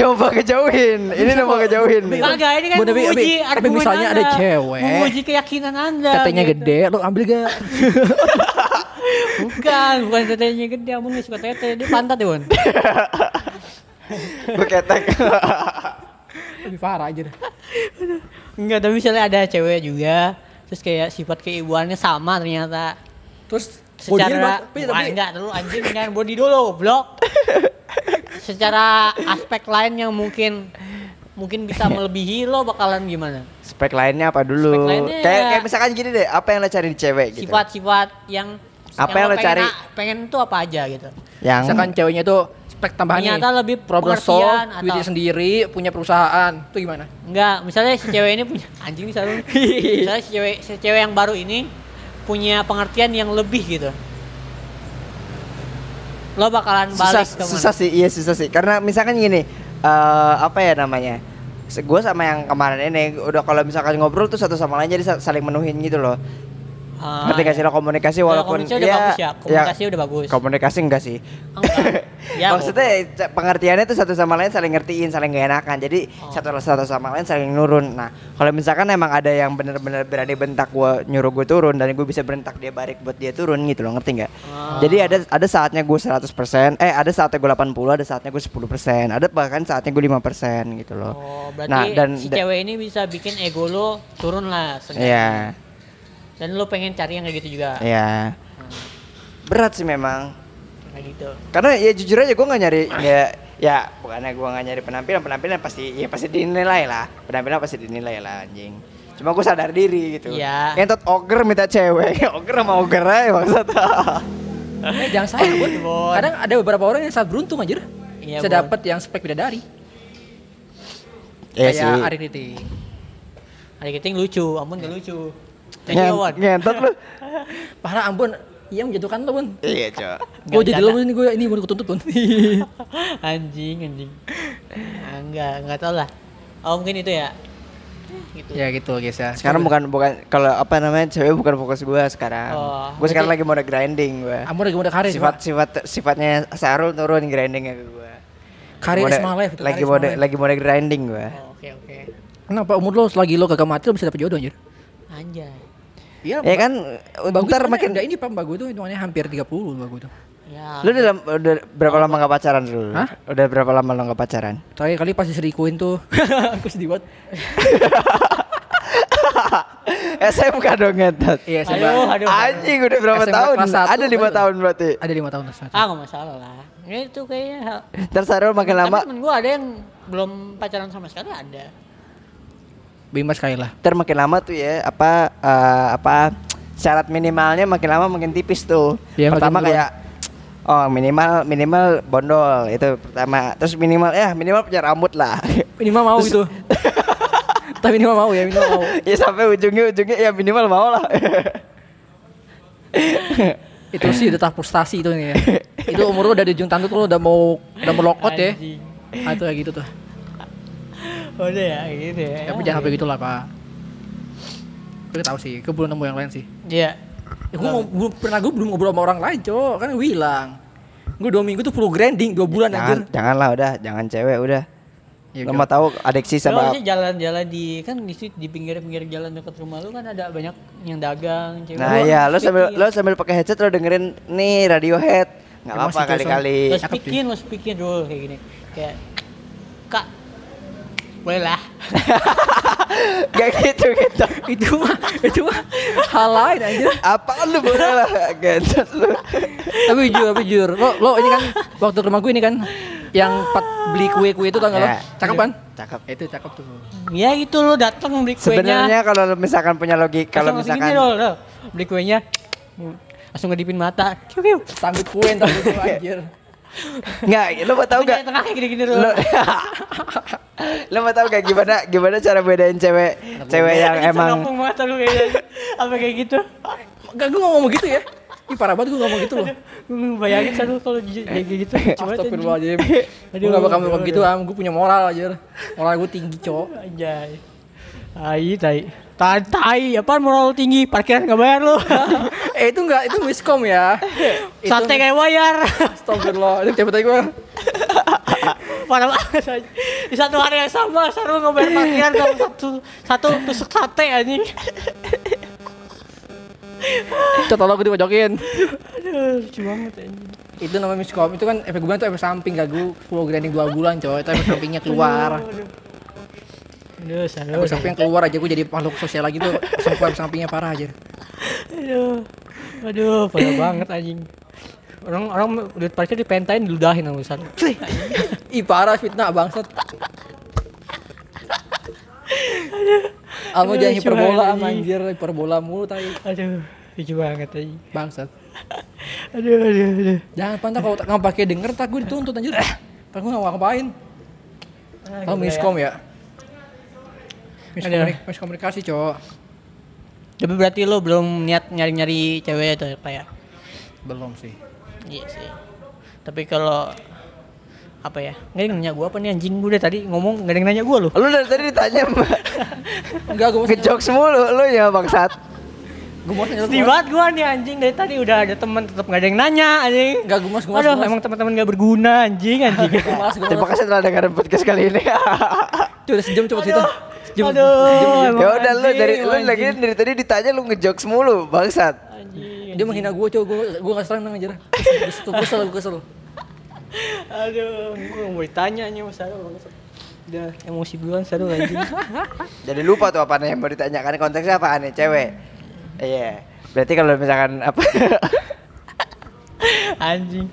C: Coba kejauhin. Ini coba kejauhin.
B: enggak ini kan
A: Bu, tapi-
B: menguji
A: tapi- tapi
B: argumen
A: misalnya ada
B: Anda,
A: cewek.
B: menguji keyakinan anda.
A: Tetenya
B: gitu.
A: gede, lo ambil gak?
B: Bukan, bukan tetenya gede, abang nggak suka tete, dia pantat ya, Bon.
C: Gue ketek.
A: Lebih parah aja deh.
B: Enggak, tapi misalnya ada cewek juga, terus kayak sifat keibuannya sama ternyata.
A: Terus bodinya
B: Secara,
A: bak- tapi-
B: Wah,
A: tapi-
B: enggak, dulu anjing kan body dulu, blok. Secara aspek lain yang mungkin mungkin bisa melebihi lo bakalan gimana?
C: spek lainnya apa dulu
B: Spek lainnya
C: kayak
B: ya-
C: kayak misalkan gini deh apa yang lo cari di cewek gitu
B: Sifat-sifat yang
C: Apa yang lo
B: pengen
C: cari?
B: a- Pengen tuh apa aja gitu.
C: yang
A: Misalkan ceweknya itu spek tambahannya.
B: Ternyata lebih
A: problem
B: pengertian
A: solve,
B: atau-
A: duitnya sendiri, punya perusahaan. Itu gimana?
B: Enggak, misalnya si cewek ini punya anjing bisa lu.
C: Iya.
B: misalnya si cewek si cewek yang baru ini punya pengertian yang lebih gitu. Lo bakalan
C: susah
B: balik ke mana?
C: susah sih iya susah sih karena misalkan gini eh apa ya namanya gue sama yang kemarin ini udah kalau misalkan ngobrol tuh satu sama lain jadi sa- saling menuhin gitu loh
B: Ah,
C: ngerti gak sih
B: ya.
C: lo komunikasi
B: Lo
C: walaupun
B: komunikasi udah bagus ya, komunikasi udah bagus.
C: komunikasi enggak sih
B: Enggak. Ya,
C: maksudnya c- pengertiannya tuh satu sama lain saling ngertiin saling gak enakan jadi
B: Oh.
C: satu satu sama lain saling nurun nah kalau misalkan emang ada yang bener-bener berani bentak gua nyuruh gue turun dan gue bisa berentak dia balik buat dia turun gitu loh ngerti nggak
B: Ah.
C: jadi ada ada saatnya gue 100% eh ada saatnya gue 80 ada saatnya gue 10% ada bahkan saatnya gue 5% gitu loh
B: Oh, berarti
C: nah dan
B: si
C: da-
B: cewek ini bisa bikin ego lo turun lah seenggaknya.
C: iya
B: Dan lo pengen cari yang kayak gitu juga.
C: iya berat sih memang
B: Kayak gitu.
C: karena ya jujur aja gue nggak nyari ya ya bukannya gue nggak nyari penampilan penampilan pasti ya pasti dinilai lah penampilan pasti dinilai lah anjing cuma gue sadar diri gitu
B: Iya.
C: entot ogre minta cewek ogre sama ogre aja maksud
A: Eh, jangan salah, Bun.
B: Bun.
A: Kadang ada beberapa orang yang sangat beruntung anjir.
B: Iya,
A: Bisa
B: Bun.
A: dapat yang spek bidadari.
C: Iya
A: Kayak
C: sih.
A: Ari Riting.
B: Ada gitu yang lucu, ampun gak lucu. Thank
C: Ngen-
B: you, Wan.
C: ngentot lu
A: Parah ampun, iya menjatuhkan lo, Bun.
C: iya cok
A: Gue
B: Nggak
A: jadi lo, Bun. Ini gue ini mau dituntut, Bun.
B: anjing anjing Ah, enggak enggak tau lah oh mungkin itu ya gitu
C: Iya.
A: ya gitu, guys ya.
C: sekarang bukan bukan kalau apa namanya cewek bukan fokus gue sekarang
B: Oh,
C: gue sekarang
B: berarti-
C: lagi mode grinding gue
A: Ampun lagi mode karir.
C: sifat sifat sifatnya Sarul turun grindingnya ke gue
A: Pak. karir is my life. gitu,
C: lagi
A: karir is my
C: mode
A: life.
C: lagi mode grinding gue
B: Oh, oke oke
A: Kenapa umur lo selagi lo kagak mati lo bisa dapet jodoh anjir?
B: anjay
A: Iya,
C: ya kan bentar makin
A: Udah ini Pak Mbak gue tuh hitungannya hampir 30 Mbak gue tuh.
B: ya
C: Lu dalam udah berapa lama gak pacaran dulu?
A: Hah?
C: Udah berapa lama lo gak pacaran?
A: Terakhir kali pas diselingkuhin tuh. Aku sedih banget.
C: SMK Eh, dong ngetot.
A: Iya, saya
B: aduh
A: Mbak.
B: aduh
C: Anjing udah berapa
A: SMK
C: tahun?
A: kelas satu,
C: Ada lima
A: baru.
C: tahun berarti.
A: Ada 5 tahun terus.
B: ah nggak masalah lah Ini itu kayaknya hal
C: Tersarul makin
B: lama
C: lama,
B: temen gue ada yang belum pacaran sama sekali ada
A: Bimbas sekali lah.
C: ter makin lama tuh ya apa eh, apa syarat minimalnya makin lama makin tipis tuh.
A: Iya, makin
C: pertama
A: duluan.
C: kayak oh minimal minimal bondol itu pertama. Terus minimal ya minimal punya rambut lah.
A: Minimal mau itu. Tapi minimal mau ya, minimal mau.
C: ya sampai ujungnya ujungnya ya minimal mau lah.
A: Itu sih udah tahap frustasi itu nih ya. Itu umur lo udah di ujung tanduk lo udah mau udah melokot ya.
B: Anjing.
A: Ah, itu kayak gitu tuh.
B: udah ya gitu ya
A: Tapi jangan sampai gitulah, Pak. Gue tahu sih, gue belum nemu yang lain sih.
B: iya
A: Ya, gue mau, belum pernah gue belum ngobrol sama orang lain, cok. Kan gue bilang. Gue dua minggu tuh perlu grinding, dua bulan
C: jangan
A: anjir.
C: janganlah udah jangan cewek udah.
A: Ya,
C: Lu mau tahu adiksi
B: Lu
C: sama
A: iya,
B: harusnya jalan-jalan di kan di situ di pinggir-pinggir jalan dekat rumah lu kan ada banyak yang
A: iya.
B: dagang, cewek.
C: Nah
B: Lu
C: ya,
B: harus
C: lo sambil
B: speaking.
C: lo sambil pakai headset lo dengerin nih Radiohead. Enggak
A: Emang
C: apa-apa
A: sih, Jason.
C: kali-kali.
B: Lo speakin, lo speakin dulu kayak gini. Kayak Kak boleh lah.
C: Gak gitu gitu.
A: itu mah itu mah hal lain aja
C: Apa lu boleh lah gitu lu.
A: tapi jujur tapi jujur lo lo ini kan waktu ke rumah gue ini kan yang empat beli kue kue itu tau gak lo
C: Ya.
A: cakep kan
C: Cakep.
A: itu cakep tuh
B: Ya gitu lo datang beli kuenya.
C: Sebenarnya kalau lu misalkan punya logik, kalau
B: Langsung gini,
C: misalkan
B: Dol, Dol. beli kuenya langsung ngedipin mata. Kiu kiu.
A: sambut kue entar itu anjir
C: enggak, lu mau tahu
B: Tengah
C: gak?
B: tengah kayak gini-gini dulu.
C: Lu Lu mau tahu gak gimana gimana cara bedain cewek cewek yang emang
B: Kampung mata lu kayaknya. Apa kayak gitu?
A: gak gue ngomong gitu ya Ih parah banget gue ngomong gitu loh
B: Gue bayangin satu kalau jujur kayak gitu. Coba aja.
A: Astagfirullahaladzim Gue gak bakal ngomong gitu am Gue punya moral aja Moral gue tinggi cowok
B: Anjay. Tai, tai. Tai, tai. Apaan moral lu tinggi? Parkiran gak bayar lu.
A: Eh itu gak Itu miskom ya Itu-
B: Sate kayak bayar.
A: Astagfirullah Itu tiap tadi gue
B: Parah banget anjing. Di satu hari yang sama, Sarul gak bayar parkiran sama satu, satu tusuk sate anjing.
A: Coba tolong gue dipojokin
B: Aduh, lucu banget anjing.
A: Itu namanya miskom Itu kan efek gue bilang itu efek samping Gak gue full grinding 2 bulan cowok Itu efek sampingnya keluar
B: Aduh, Sarul.
A: Efek samping keluar aja Gue jadi makhluk sosial lagi tuh Semua efek sampingnya parah aja
B: Aduh. Aduh, parah banget anjing. Orang orang duit parkir dipentain diludahin sama Sarul.
A: Ih parah fitnah bangsat Almu
B: Aduh,
A: jangan
B: lucu
A: hiperbola
B: banget,
A: am
B: anjing.
A: anjir Hiperbola mulu tai
B: Aduh, lucu banget anjing.
A: Bangsat
B: Aduh, aduh, aduh.
A: Jangan pantau kalau tak- nggak pakai denger tak gue dituntut anjir. Tak gue nggak ngapain. Kalau miskom ya. Miskomunik- miskomunikasi cowok.
B: Tapi berarti lo belum niat nyari-nyari cewek itu kayak
A: Belum sih.
B: Iya sih. Tapi kalau apa ya? Nggak ada yang nanya gue apa nih anjing gue tadi ngomong nggak ada yang nanya gue loh.
C: lu dari tadi ditanya Mbak.
A: Enggak gue mau
C: ngejokes mulu lu ya bangsat.
A: Gue mau nanya lu
B: Sedih
A: keluar.
B: banget gue nih anjing dari tadi udah ada teman tetap nggak ada yang nanya anjing.
A: Nggak, gumas, gumas,
B: Aduh
A: gumas.
B: emang teman-teman nggak berguna anjing anjing.
A: Gue malas gue.
C: Terima kasih telah dengerin podcast kali ini.
A: Tuh udah sejam coba situ. Sejam.
B: Aduh, Oh, emang
C: ya udah lu
B: anjing,
C: dari lu
B: anjing.
C: lagi dari tadi ditanya lu ngejokes mulu bangsat.
B: Anjing.
A: Dia menghina gue cowok gue gue nggak senang anjir. Gue kesel gue kesel, gue kesel.
B: Aduh, gue mau ditanya nih mas Sarul. bangsat. Udah emosi duluan Sarul anjing.
C: Jadi lupa tuh apa yang mau ditanyakan konteksnya apa aneh cewek. Iya. Berarti kalau misalkan apa?
B: anjing.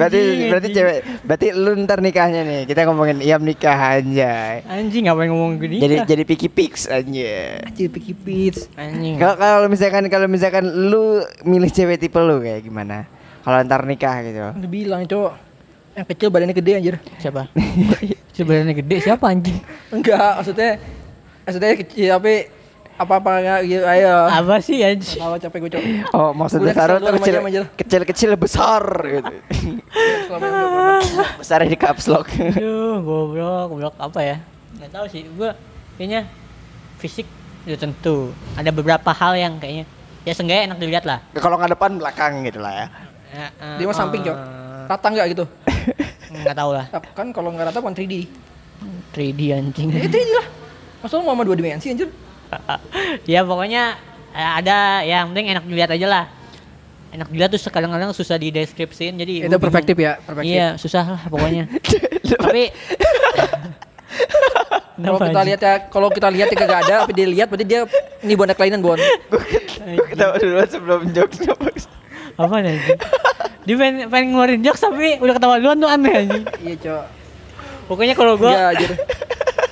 C: berarti
B: Anjing,
C: berarti
B: anjing.
C: cewek. Berarti lu ntar nikahnya nih. Kita ngomongin iam nikah aja.
B: Anjing ngapain ngomong gini?
C: Jadi jadi piki pix aja.
A: Anjir pikir pits.
B: anjing.
C: Kalau kalau misalkan kalau misalkan lu milih cewek tipe lu kayak gimana? Kalau ntar nikah gitu.
A: Udah bilang cowok. Yang kecil badannya gede anjir.
B: Siapa? Sebenarnya gede siapa anjing?
A: Enggak, maksudnya maksudnya kecil tapi apa-apa enggak gitu ayo.
B: Apa sih anjing?
A: Lawa capek gue cowok.
C: Oh maksudnya
A: Udah kesel
C: taruh
A: lu
C: tuh
A: sama
C: kecil,
A: iam, anjir.
C: kecil kecil besar gitu.
A: Selama yang udah pernah.
C: besar di caps lock.
B: Aduh, goblok, goblok apa ya? Nggak tahu sih, gua kayaknya fisik udah tentu. Ada beberapa hal yang kayaknya ya seenggaknya enak dilihat lah.
C: Ya, kalau nggak depan belakang gitu lah ya.
B: Ya, eh,
A: Dia mah samping, Cok.
B: Ah.
A: Rata enggak gitu?
B: Nggak tahu lah.
A: Rata- Kan kalau enggak rata bukan 3D.
B: 3D anjing.
A: Ya 3D lah. Masa lu mau sama dua dimensi anjir?
B: Iya, ya pokoknya eh, ada ya, yang penting enak dilihat aja lah. Enak dilihat tuh kadang-kadang susah dideskripsiin jadi
A: Itu
B: gua
A: perspektif
B: bingung.
A: ya, perspektif.
B: Iya, susah lah pokoknya. Tapi
A: Kalau kita lihat ya, kalau kita lihat ya kagak ada, tapi dia lihat berarti dia ini bonda kelainan, Bon.
B: Iya.
C: Gue ketawa dulu sebelum jokesnya Bos.
B: apa anjing? Dia pengen, pengen ngeluarin jokes tapi udah ketawa duluan tuh aneh anjing.
A: Iya, Cok.
B: Pokoknya kalau gua
A: Iya, anjir.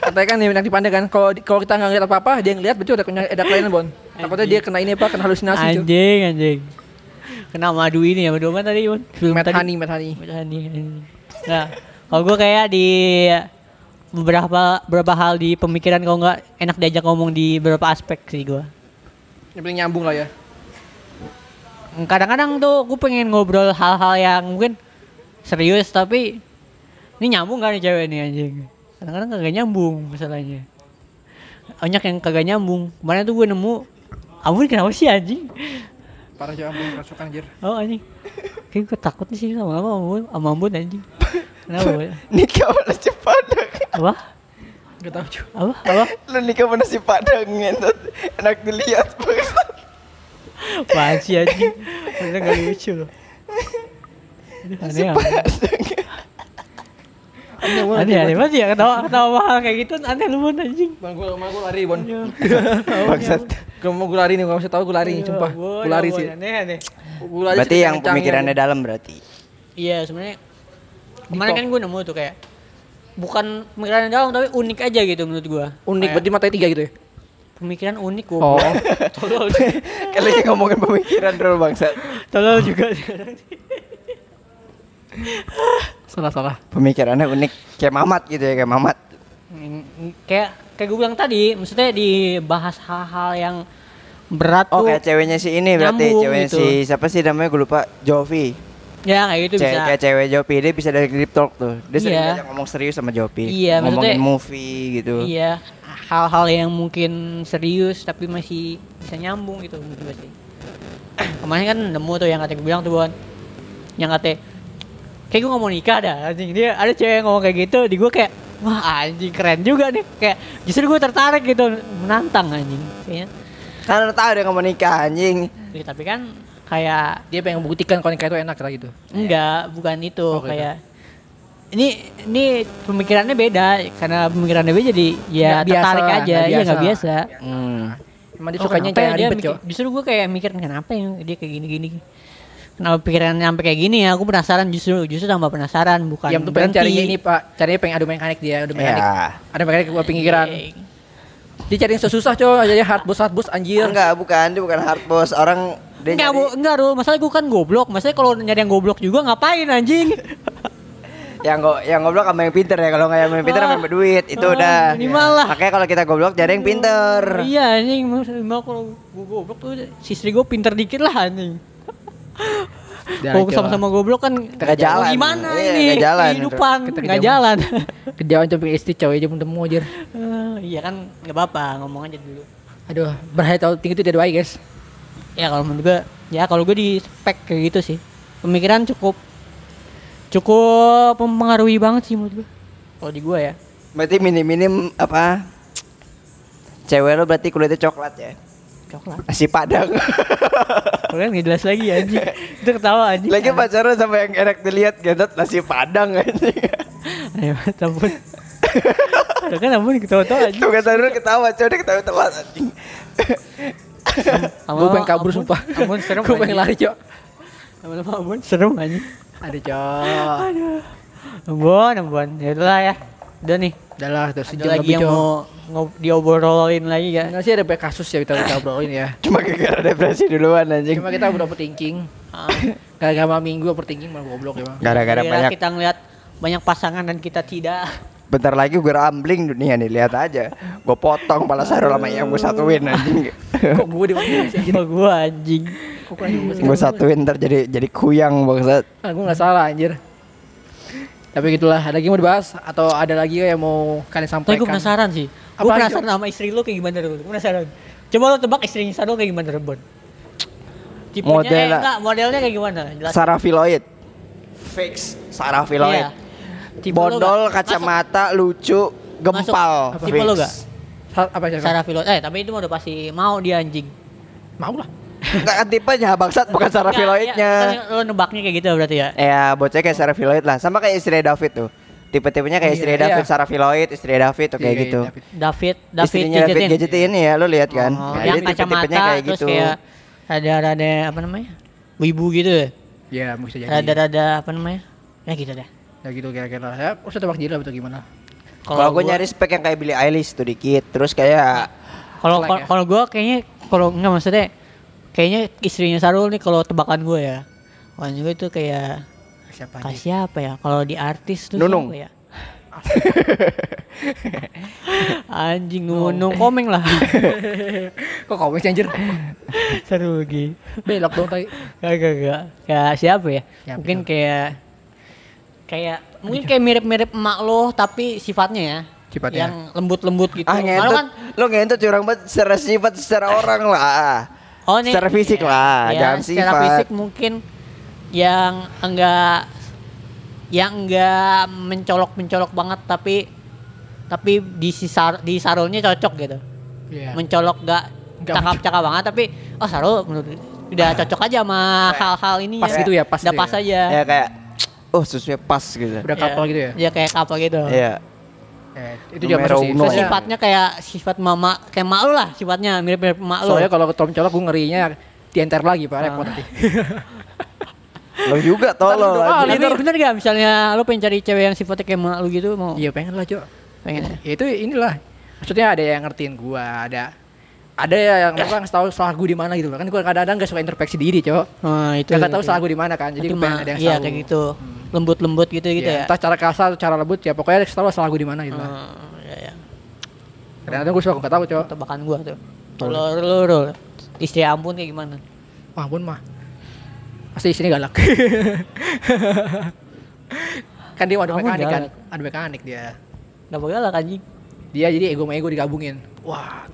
A: Katanya kan yang nanti pandai kan, kalau di- kalau kita nggak ngeliat apa-apa, dia ngeliat berarti udah kena- ada kelainan, Bon. Takutnya dia kena ini apa, kena halusinasi, Cok.
B: anjing anjing. Kena madu ini ya, madu apa tadi, Yun? Film
A: Mad
B: tadi.
A: honey, mad honey.
B: Mad honey, anjing. Nah, kalau gua kayak di beberapa beberapa hal di pemikiran kalau nggak enak diajak ngomong di beberapa aspek sih gua.
A: Yang penting nyambung lah ya.
B: Kadang-kadang tuh gua pengen ngobrol hal-hal yang mungkin serius tapi ini nyambung gak nih cewek nih anjing. Kadang-kadang kagak nyambung masalahnya. Banyak yang kagak nyambung. Kemarin tuh gue nemu, ampun kenapa sih anjing?
A: Parah, Cok, ampun, kerasukan, anjir.
B: Oh anjing. Kayak gue takut nih sih lama-lama sama Ambon, sama Ambon anjing. Kenapa? Boy?
C: Nikah oleh Jepang.
B: Apa?
A: Gak tahu cuy.
B: Apa? Apa?
C: Lu nikah sama nasi padang ngentot. Enak dilihat bangsat.
B: Apaan sih anjing? Bener gak lucu loh. Aduh, Aneh amat. Aneh aneh banget ya ketawa ketawa mahal kayak gitu aneh lu mon anjing.
A: Bang gue mau gue lari bon.
B: Iya. Oh,
C: Bangsat.
A: Gue mau gue lari nih kalau bisa tahu gue lari
B: Iya,
A: nih sumpah.
B: Bon,
A: Gue lari
B: Bon,
A: sih.
B: Aneh
A: Gua lari
B: aneh.
C: Berarti
A: sekencang-kencangnya.
C: yang pemikirannya dalam berarti.
B: Iya sebenarnya kemarin
A: Dikok.
B: kan gue nemu tuh kayak bukan pemikiran dalam tapi unik aja gitu menurut gue.
A: unik berarti matanya tiga gitu ya.
B: Pemikiran unik gue.
A: Oh.
B: Tolol.
C: Kalau lagi ngomongin pemikiran dulu bangsat.
B: Tolol juga.
A: salah salah.
C: Pemikirannya unik kayak Mamat gitu ya kayak Mamat.
B: kayak kayak gue bilang tadi maksudnya dibahas hal-hal yang berat
C: Oh
B: tuh.
C: kayak ceweknya si ini berarti
B: Nyambung
C: ceweknya
B: gitu.
C: si siapa sih namanya gue lupa Jovi.
B: Ya kayak gitu
C: Cewek,
B: bisa.
C: kayak cewek Jovi dia bisa dari grip talk tuh. Dia sering
B: Iya.
C: diajak ngomong serius sama Jovi.
B: Iya, maksudnya-
C: Ngomongin movie gitu.
B: Iya, hal-hal yang mungkin serius tapi masih bisa nyambung gitu menurut gue sih. Kemarin kan nemu tuh yang kata gue bilang tuh Bon. Yang kata kayak gue gak mau nikah dah anjing. Dia ada cewek yang ngomong kayak gitu di gue kayak wah anjing keren juga nih kayak justru gue tertarik gitu menantang anjing kayaknya.
C: Karena tahu dia nggak mau nikah anjing.
B: Ya, tapi kan kayak
A: Dia pengen membuktikan kalau nikah itu enak kata gitu.
B: Enggak, bukan itu
A: Oh, gitu.
B: kayak ini ini pemikirannya beda karena pemikirannya beda jadi ya
A: Nggak biasa
B: tertarik
A: lah,
B: aja
A: nggak
B: ya nggak
A: biasa.
B: biasa.
C: Hmm.
A: Emang dia
B: Oh,
A: sukanya
B: kenapa ya
A: jangan
B: dia
A: ribet
B: mikir-
A: cuy.
B: Justru gue kayak mikir kenapa ya dia kayak gini-gini. Kenapa pikirannya sampai kayak gini ya? Aku penasaran justru justru tambah penasaran bukan
A: Ya, Yang tuh pengen carinya ini pak, carinya pengen adu mekanik dia, adu mekanik.
C: Ya.
A: Ada mekanik gua
B: Iya,
A: pinggiran.
B: Eh,
A: Dia cari yang susah coy, aja hard bus hard bus anjir.
C: Enggak, bukan dia bukan hard boss. Orang dia
B: Enggak,
C: nyari-
B: bu, enggak, Rul. Masalahnya gue kan goblok. Masalahnya kalau nyari yang goblok juga ngapain anjing?
C: yang go yang goblok sama yang pinter ya kalau nggak yang pinter sama yang berduit itu
B: Ah,
C: udah
B: minimal lah.
C: makanya kalau kita goblok jadi yang pinter
B: Iya anjing, maksud- mau kalau gue goblok tuh si istri gue pinter dikit lah anjing.
A: Jangan,
B: Kalau
A: coy.
B: sama-sama goblok kan
C: nggak jalan.
B: mau Gimana
C: Iya,
B: ini?
C: nggak jalan.
B: Kehidupan
A: Kita
B: nggak
A: kejauhan.
B: jalan.
A: Kejauhan coy istri coy, aja belum temu anjir.
B: Eh, iya kan nggak apa-apa, ngomong aja dulu.
A: Aduh, berhayat tahun tinggi itu dia doai guys.
B: Ya kalau menurut gue, ya kalau gue di spek kayak gitu sih. Pemikiran cukup cukup mempengaruhi banget sih menurut gue. Kalau di gue ya.
C: berarti minim minim apa cewek lo berarti kulitnya coklat ya
B: Coklat.
C: nasi padang
B: Kalian nggak jelas lagi anjing. Itu ketawa anjing.
C: lagi pacaran sama yang enak dilihat gendut nasi padang anjing
B: Ayo, ya, ampun. Tuh kan ampun ketawa-tawa anjing.
C: tuh kata dulu ketawa coba dia ketawa telat anjing
A: Gue pengen kabur
B: Ampun,
A: sumpah.
B: Ampun serem.
A: Gue pengen lari coy.
B: Ampun, ampun serem anjing.
A: Aduh coy.
B: Ambon, Ambon. Ya itulah ya. Udah nih.
A: Udah lah, udah
B: Ada
A: sejam
B: lagi
A: lebih
B: yang
A: coy.
B: mau ngob- diobrolin lagi ya.
A: Enggak sih ada banyak kasus ya kita kita obrolin ya.
C: cuma gara depresi duluan anjing
B: Iya,
A: Cuma kita udah overthinking. Gara-gara malam minggu overthinking malah goblok emang.
C: gara-gara
B: Kira-kira
C: banyak
B: kita ngeliat banyak pasangan dan kita tidak.
C: bentar lagi gue rambling dunia nih lihat aja gue potong pala sarul sama yang gue satuin anjing
A: Kok gue dipanggil sih?
B: Sama gua anjing.
A: Kok kurang juga sih?
C: gue satuin ntar jadi jadi kuyang bangsat
A: Ah, gue nggak salah anjir. Tapi gitulah, ada lagi mau dibahas atau ada lagi yang mau kalian
B: Tapi
A: sampaikan?
B: gua penasaran sih.
A: Apalagi,
B: Gua penasaran sama istri lu kayak gimana Rul. Gua penasaran. Coba lu tebak istri Sarul kayak gimana Rebon. Tipenya eh,
C: Model-
B: enggak, modelnya kayak gimana? Jelas. Iya.
C: Sarafiloid. Fix Sarafiloid.
B: Tipe lu
C: Bondol,
B: nggak?
C: kacamata, lucu, gempal.
B: Masuk. Tipe lu
C: Fix.
B: nggak?
A: Sa- apa
B: Masuk.
A: sih?
B: Sarafilot. Eh, tapi itu mah udah pasti mau dia anjing.
A: Mau lah.
C: Nggak kan tipenya bangsat bukan Sarafiloidnya.
B: Ya, ya, Lu nebaknya kayak gitu berarti ya.
C: Ya, bocah kayak Sarafiloid lah. Sama kayak istri David tuh. Tipe-tipenya kayak istri
A: Iya,
C: David,
A: iya.
C: Sarafiloid, istri David tuh kayak
A: Iya,
C: gitu.
A: David.
B: David, David
C: Istrinya David
B: Gadgetin.
C: gadget ini ya, lu lihat kan?
B: Oh,
C: Nah,
B: yang
C: jadi tipe-tipenya
B: kacamata
C: kayak
B: terus
C: gitu.
B: kayak rada-rada apa namanya? Wibu gitu.
A: Ya, bisa jadi.
B: Rada-rada apa namanya? Ya gitu dah.
A: Ya gitu kira-kira. Ya, usah tebak jadi lah betul gimana.
C: Kalau gue
B: gua-
C: nyari spek yang kayak Billie Eilish tuh dikit, terus kayak
B: kalau
A: Slack
B: kalau-
A: ya?
B: kalau gua kayaknya kalau enggak maksudnya kayaknya istrinya Sarul nih kalau tebakan gua ya. Wah, gua itu kayak
A: Siapa
B: kasih
A: anjir?
B: siapa ya? Kalau di artis tuh
C: Nunung.
B: siapa ya? Anjing Nunung komeng lah.
A: Kok komik sih, anjir?
B: Seru lagi.
A: Belok dong tadi.
B: Gak, gak, gak. Kayak siapa ya?
A: Siapa
B: mungkin
A: tuh?
B: kayak kayak mungkin kayak mirip-mirip emak lo tapi sifatnya ya.
A: Sifatnya.
B: Yang lembut-lembut gitu.
C: ah
B: Emak lo
A: kan?
C: ngentut, lu ngentut curang banget secara sifat secara
A: Eh.
C: orang lah. ah,
B: oh, nih-
C: secara fisik
B: ya,
C: lah,
B: ya,
C: jangan
B: secara
C: sifat.
B: fisik mungkin yang enggak yang enggak mencolok-mencolok banget tapi tapi di sisar di sarulnya cocok gitu
A: Iya.
B: mencolok gak
A: Nggak
B: cakap-cakap banget tapi oh sarul menurut udah cocok aja sama hal-hal ini
A: Nah. Pas gitu ya, pas
B: udah
A: gitu
B: pas
A: ya.
B: aja
C: ya kayak oh sesuai pas gitu
A: Udah kapal gitu ya.
B: ya kayak kapal gitu
A: Ya,
C: Iya.
B: Eh,
A: itu juga masuk sih.
C: Numero uno.
A: Soalnya-
B: sifatnya kayak sifat mama kayak mak lu lah sifatnya mirip-mirip mak lu
A: Soalnya kalau ketom colok gue ngerinya diantar lagi Pak repot
B: Ah.
A: nanti.
C: lo juga tolol
A: Ntar ah, lu doang,
C: anjing.
B: tapi bener gak misalnya lu pengen cari cewek yang sifatnya kayak mak lu gitu mau
A: Iya pengen lah Cok.
B: pengen
A: Ya, itu inilah. Maksudnya ada yang ngertiin gua, ada ada yang orang tahu salah gue di mana gitu loh. Kan gua kadang-kadang gak suka introspeksi diri, Cok.
B: nah, itu
A: Kagak tahu
B: gitu.
A: salah gue di mana kan. Jadi
B: Tapi
A: gua pengen
B: mah,
A: ada yang
B: iya
A: tahu.
B: kayak gitu lembut-lembut gitu gitu
A: Iya,
B: ya
A: Entah cara kasar, atau cara lembut ya pokoknya harus tahu salah gue di mana gitu. lah.
B: Hmm, ya, ya.
A: Kadang-kadang gue suka gak tahu, Cok.
B: tebakan gua tuh lo lo lo istri ampun kayak gimana
A: Wah, ampun mah. Pasti di sini galak. kan dia ada
B: Ampun,
A: mekanik kan.
B: galak.
A: Ada mekanik dia.
B: Gak bakal lah anjing
A: Dia Iya, jadi ego sama ego digabungin. Wah,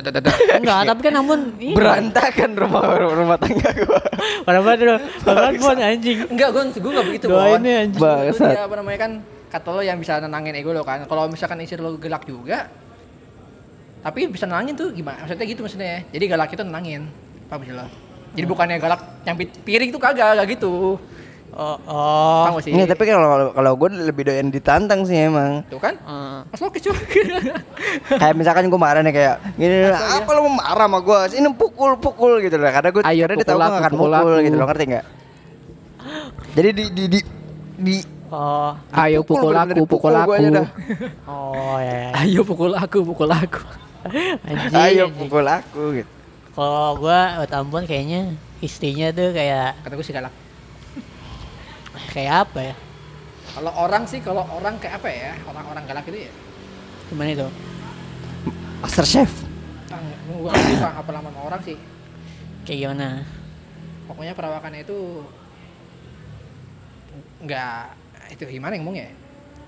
B: Enggak, tapi kan ampun ini.
C: berantakan rumah rumah tangga gua
B: Parah banget lu. Parah banget anjing.
A: Enggak, gue gue gak begitu,
B: Doain
A: Bon.
B: nih, anjing.
A: Maksud gua
C: Bangsat.
A: dia apa namanya kan kata lo yang bisa nenangin ego lo kan. Kalau misalkan istri lo gelak juga tapi bisa nenangin tuh gimana? Maksudnya gitu maksudnya ya. Jadi galak itu nenangin. Paham sih lo? Jadi bukannya galak nyampit piring tuh kagak, gak gitu.
B: Oh, oh.
A: Paham gak sih?
C: Nggak, tapi kalau kalau gue lebih doyan ditantang sih emang
A: Tuh kan?
B: Eh,
A: Pas lo kecuali.
C: kayak misalkan gue marah nih kayak gini apa lo mau marah sama gue ini pukul pukul gitu loh karena gue
A: ya. Ayo,
C: karena dia tahu
A: pukul
C: gue
A: aku,
C: akan
A: pukul
C: mukul
A: aku.
C: gitu loh ngerti nggak jadi di di di, di-
B: Oh,
A: Ayo pukul
C: bener-bener
A: aku,
C: dipukul
A: pukul
C: gua aja
A: aku.
C: dah.
B: oh ya. ya.
A: Ayo pukul aku, pukul aku.
B: Anjing. anjing.
C: ayo pukul aku gitu
B: Kalau gua buat ampun kayaknya istrinya tuh kayak
A: Kata gue sih galak.
B: kayak apa ya?
A: Kalau orang sih, kalau orang kayak apa ya? Orang-orang galak itu ya.
B: Gimana itu?
C: master chef
A: Ah, Gue gak suka apa lama sama orang sih.
B: Kayak gimana?
A: pokoknya perawakannya itu nggak itu gimana yang ngomongnya ya?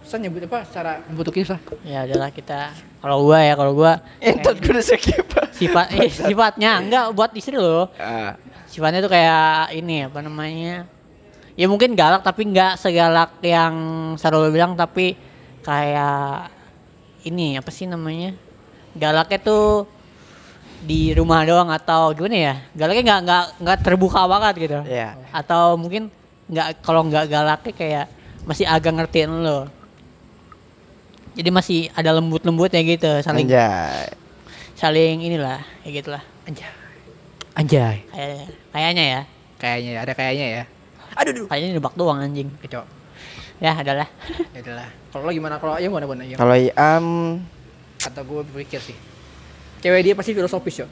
A: saya nyebut apa secara membutuh kisah
B: Ya udahlah kita kalau gua ya kalau gua
C: entot gue udah skip
B: sifat eh, sifatnya enggak buat istri lo.
C: Ah,
B: sifatnya tuh kayak ini apa namanya ya mungkin galak tapi nggak segalak yang Sarul bilang tapi kayak ini apa sih namanya galaknya tuh di rumah doang atau gimana ya galaknya nggak nggak nggak terbuka banget gitu
C: Iya.
B: atau mungkin nggak kalau nggak galaknya kayak masih agak ngertiin lo jadi masih ada lembut-lembutnya gitu saling
C: anjay
B: saling inilah kayak gitulah
A: anjay anjay
B: kayaknya kayaknya ya
A: kayaknya ya, ada kayaknya ya
B: kayaknya nebak doang anjing
A: kecok
B: ya adalah
A: ya adalah kalau lo gimana kalau ya mana mana ya
C: kalau am
A: kata gue berpikir sih cewek dia pasti filosofis yo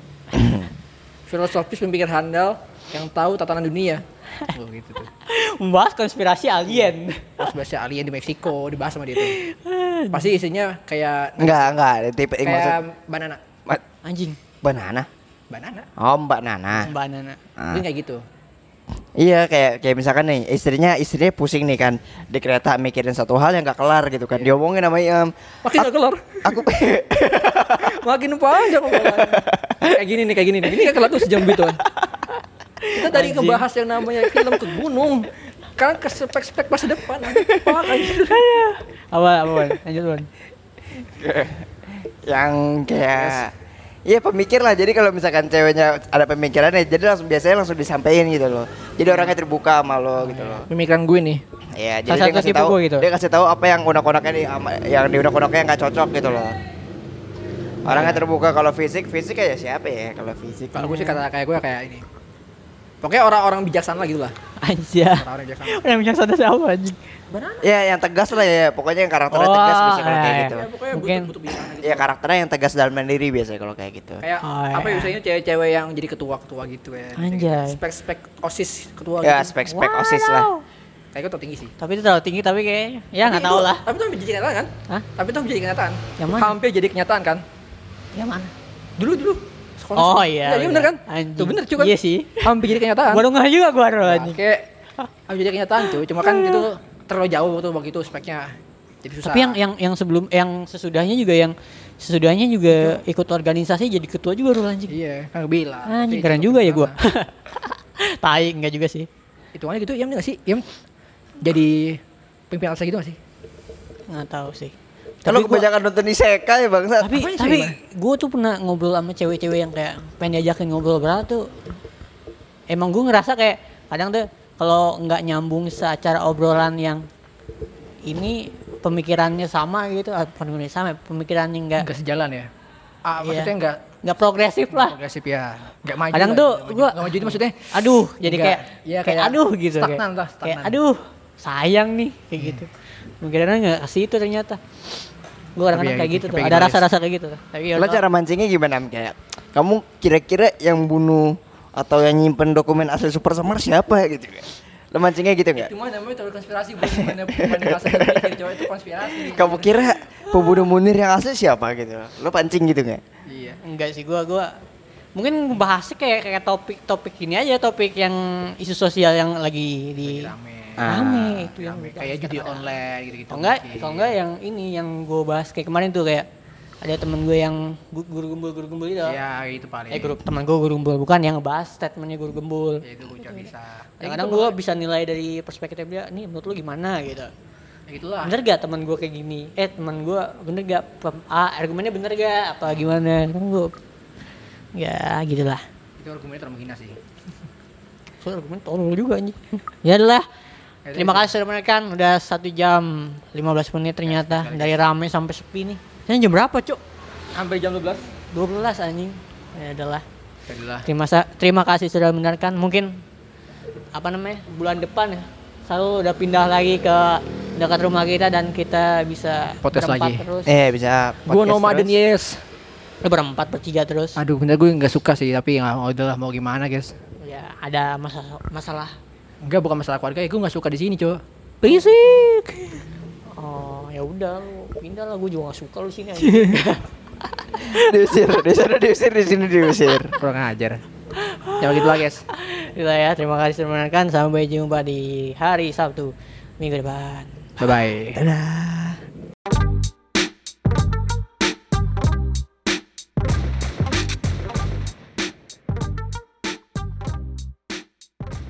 A: filosofis pemikir handal yang tahu tatanan dunia oh, gitu tuh
B: membahas konspirasi alien
A: terus bahasa alien di Meksiko dibahas sama dia tuh pasti isinya kayak
C: enggak enggak tipe yang Eh, maksud
A: kayak banana
C: ma-
B: anjing
C: Mbak Nana
A: banana
C: oh Mbak Nana
B: mbak Nana
C: Ah.
A: itu kayak gitu
C: Iya kayak kayak misalkan nih istrinya istrinya pusing nih kan di kereta mikirin satu hal yang gak kelar gitu kan diomongin sama Iam
A: makin
B: Ah.
A: gak kelar
C: aku
A: Makin panjang obrolannya. Kayak gini nih, kayak gini nih. Ini gak kelar tuh sejam gitu. Kita tadi ngebahas yang namanya film ke gunung. Kan ke spek-spek masa depan. Pak, anjir.
B: apa apa Wan? lanjut Wan.
C: yang kayak Iya pemikir lah jadi kalau misalkan ceweknya ada pemikirannya jadi langsung biasanya langsung disampaikan gitu loh jadi orangnya terbuka sama lo gitu loh
A: Pemikiran gue nih.
C: Iya
B: Salah
C: jadi dia
B: satu
C: kasih
B: tipe
C: tahu
B: gua gitu.
C: dia kasih tahu apa yang unek-uneknya di ama- yang di unek-uneknya nggak cocok gitu loh
B: Nah.
C: orangnya terbuka kalau fisik fisik kayak siapa ya kalau fisik
A: Kalau gue sih kata kayak gue kayak ini. Pokoknya orang-orang bijaksana gitu lah.
B: aja
A: Orang-orang bijaksana.
B: yang punya saudara siapa anjing
C: Ya yang tegas lah ya pokoknya yang karakternya
B: Oh,
C: tegas biasanya kalau
B: iya,
C: kayak
B: iya.
C: gitu
A: Ya, pokoknya
B: Mungkin.
A: butuh, butuh bijaksana gitu.
C: Ya karakternya yang tegas dalam mandiri biasanya kalau kayak gitu.
A: Kayak
B: Oh,
A: apa
B: iya.
A: ya biasanya cewek-cewek yang jadi ketua-ketua gitu ya.
B: Anjay.
A: Spek-spek OSIS ketua
C: Ya
A: gitu.
C: spek-spek osis lah.
A: Kayak gue tau tinggi sih.
B: tapi itu terlalu tinggi tapi kayak ya
A: Tapi
B: nggak
A: itu-
B: tahu lah
A: Tapi itu hampir jadi kenyataan kan?
B: Hah?
A: Tapi itu hampir jadi kenyataan.
B: Yang mana?
A: Hampir jadi kenyataan kan?
B: ya mana
A: dulu dulu sekolah
B: oh
A: sekolah.
B: iya
A: iya bener kan
B: anjing
A: tuh bener cuy
B: iya sih
A: hampir jadi kenyataan
B: baru nggak juga gua Rul,
A: Nah,
B: anjing
A: kayak hampir jadi kenyataan cuy cuma kan itu terlalu jauh tuh waktu itu speknya jadi susah
B: tapi yang yang yang sebelum yang sesudahnya juga yang sesudahnya juga ikut organisasi jadi ketua juga Rul anjing
A: iya kan gue bilang
B: anjing
A: Tapi
B: keren
A: itu
B: juga ya gua
A: gimana?
B: tai enggak juga sih
A: hitungannya gitu iya bener nggak sih iya jadi pimpinan saya gitu nggak sih
B: nggak tahu sih
C: Kalau
B: Tapi gua-
C: kebanyakan nonton Isekai bangsa.
B: tapi
A: Apanya sih,
B: tapi
A: gimana?
B: gue tuh pernah ngobrol sama cewek-cewek yang kayak pengen diajakin ngobrol berat tuh emang gue ngerasa kayak kadang tuh kalau nggak nyambung secara obrolan yang ini pemikirannya sama gitu ah, bukan pemikirannya sama pemikirannya nggak
A: Enggak sejalan ya. Ah,
B: Iya.
A: maksudnya enggak
B: nggak progresif lah
A: progresif ya. Enggak maju.
B: kadang
A: lah,
B: tuh
A: nggak maju.
B: gue
A: Nggak maju itu maksudnya.
B: aduh jadi
A: nggak-
B: kayak,
A: iya,
B: kayak
A: kayak
B: aduh gitu kayak-
A: stagnan Iya. lah,
B: kayak
A: stagnan.
B: aduh sayang nih kayak gitu pemikirannya nggak kasih itu ternyata gue kadang-kadang
A: ya
B: kayak
A: gitu,
B: gitu tuh
A: kepengen
B: ada
A: nulis.
B: rasa-rasa kayak gitu tuh. tapi ya
C: Lo
B: udah.
C: cara mancingnya gimana Am? kayak? Kamu kira-kira yang bunuh atau yang nyimpen dokumen asli Super Summer siapa gitu kan? Lo mancingnya gitu nggak?
A: Cuma namanya teori konspirasi bukan bukan bukan rasa mikir coba itu konspirasi.
C: Kamu kira pembunuh Munir yang asli siapa gitu? Lo pancing gitu nggak?
A: Iya.
B: Enggak sih gua gua mungkin bahasnya kayak kayak topik-topik ini aja topik yang isu sosial yang lagi di
A: Rame. Ah,
B: rame itu yang
A: Rame.
B: gua
A: Kayak
B: bahas
A: judi
B: kadang-kadang.
A: online gitu-gitu.
B: Kalau enggak
A: mungkin.
B: kalau enggak yang ini yang gua bahas kayak kemarin tuh kayak ada temen gue yang gu- guru gembul guru gembul itu.
A: Iya, itu paling.
B: Eh guru teman gua guru gembul bukan yang ngebahas statementnya guru gembul.
A: Ya gitu. itu gue bisa.
B: Kadang-kadang gua bisa nilai dari perspektif dia, nih menurut lu gimana gitu.
A: Ya gitulah.
B: Bener gak teman gua kayak gini? Eh teman gua bener gak? Pem- ah, argumennya bener gak? Apa gimana? Kan gue ya gitulah.
A: Itu argumennya termenghina sih.
B: Soalnya argumen tolol juga anjing. ya adalah.
A: Ya,
B: Terima kasih sudah menekan udah satu jam 15 menit ternyata dari rame sampai sepi nih. Ini jam berapa, Cuk?
A: Sampai jam 12.
B: 12 anjing. Ya adalah.
A: Jadilah.
B: Terima sa- terima kasih sudah mendengarkan. Mungkin apa namanya? bulan depan ya. Selalu udah pindah lagi ke dekat rumah kita dan kita bisa
A: Podcast
B: berempat
A: lagi.
B: terus.
C: Eh bisa.
A: Gue
C: podcast
A: nomaden
C: terus.
A: yes.
B: Eh, berempat bertiga terus.
A: Aduh, bener gue nggak suka sih, tapi ya udahlah mau gimana guys.
B: Ya, ada masalah masalah.
A: Enggak bukan masalah keluarga, ya gue nggak suka di sini cow. Berisik.
B: Oh, ya udah lu pindah lah gue juga gak suka lu sini anjing.
C: Diusir, di sana diusir, di sini diusir.
A: Kurang ajar. Ya gitu lah guys.
B: Gitu ya, terima kasih sudah menonton. Sampai jumpa di hari Sabtu minggu depan.
A: Bye bye.
C: Dadah.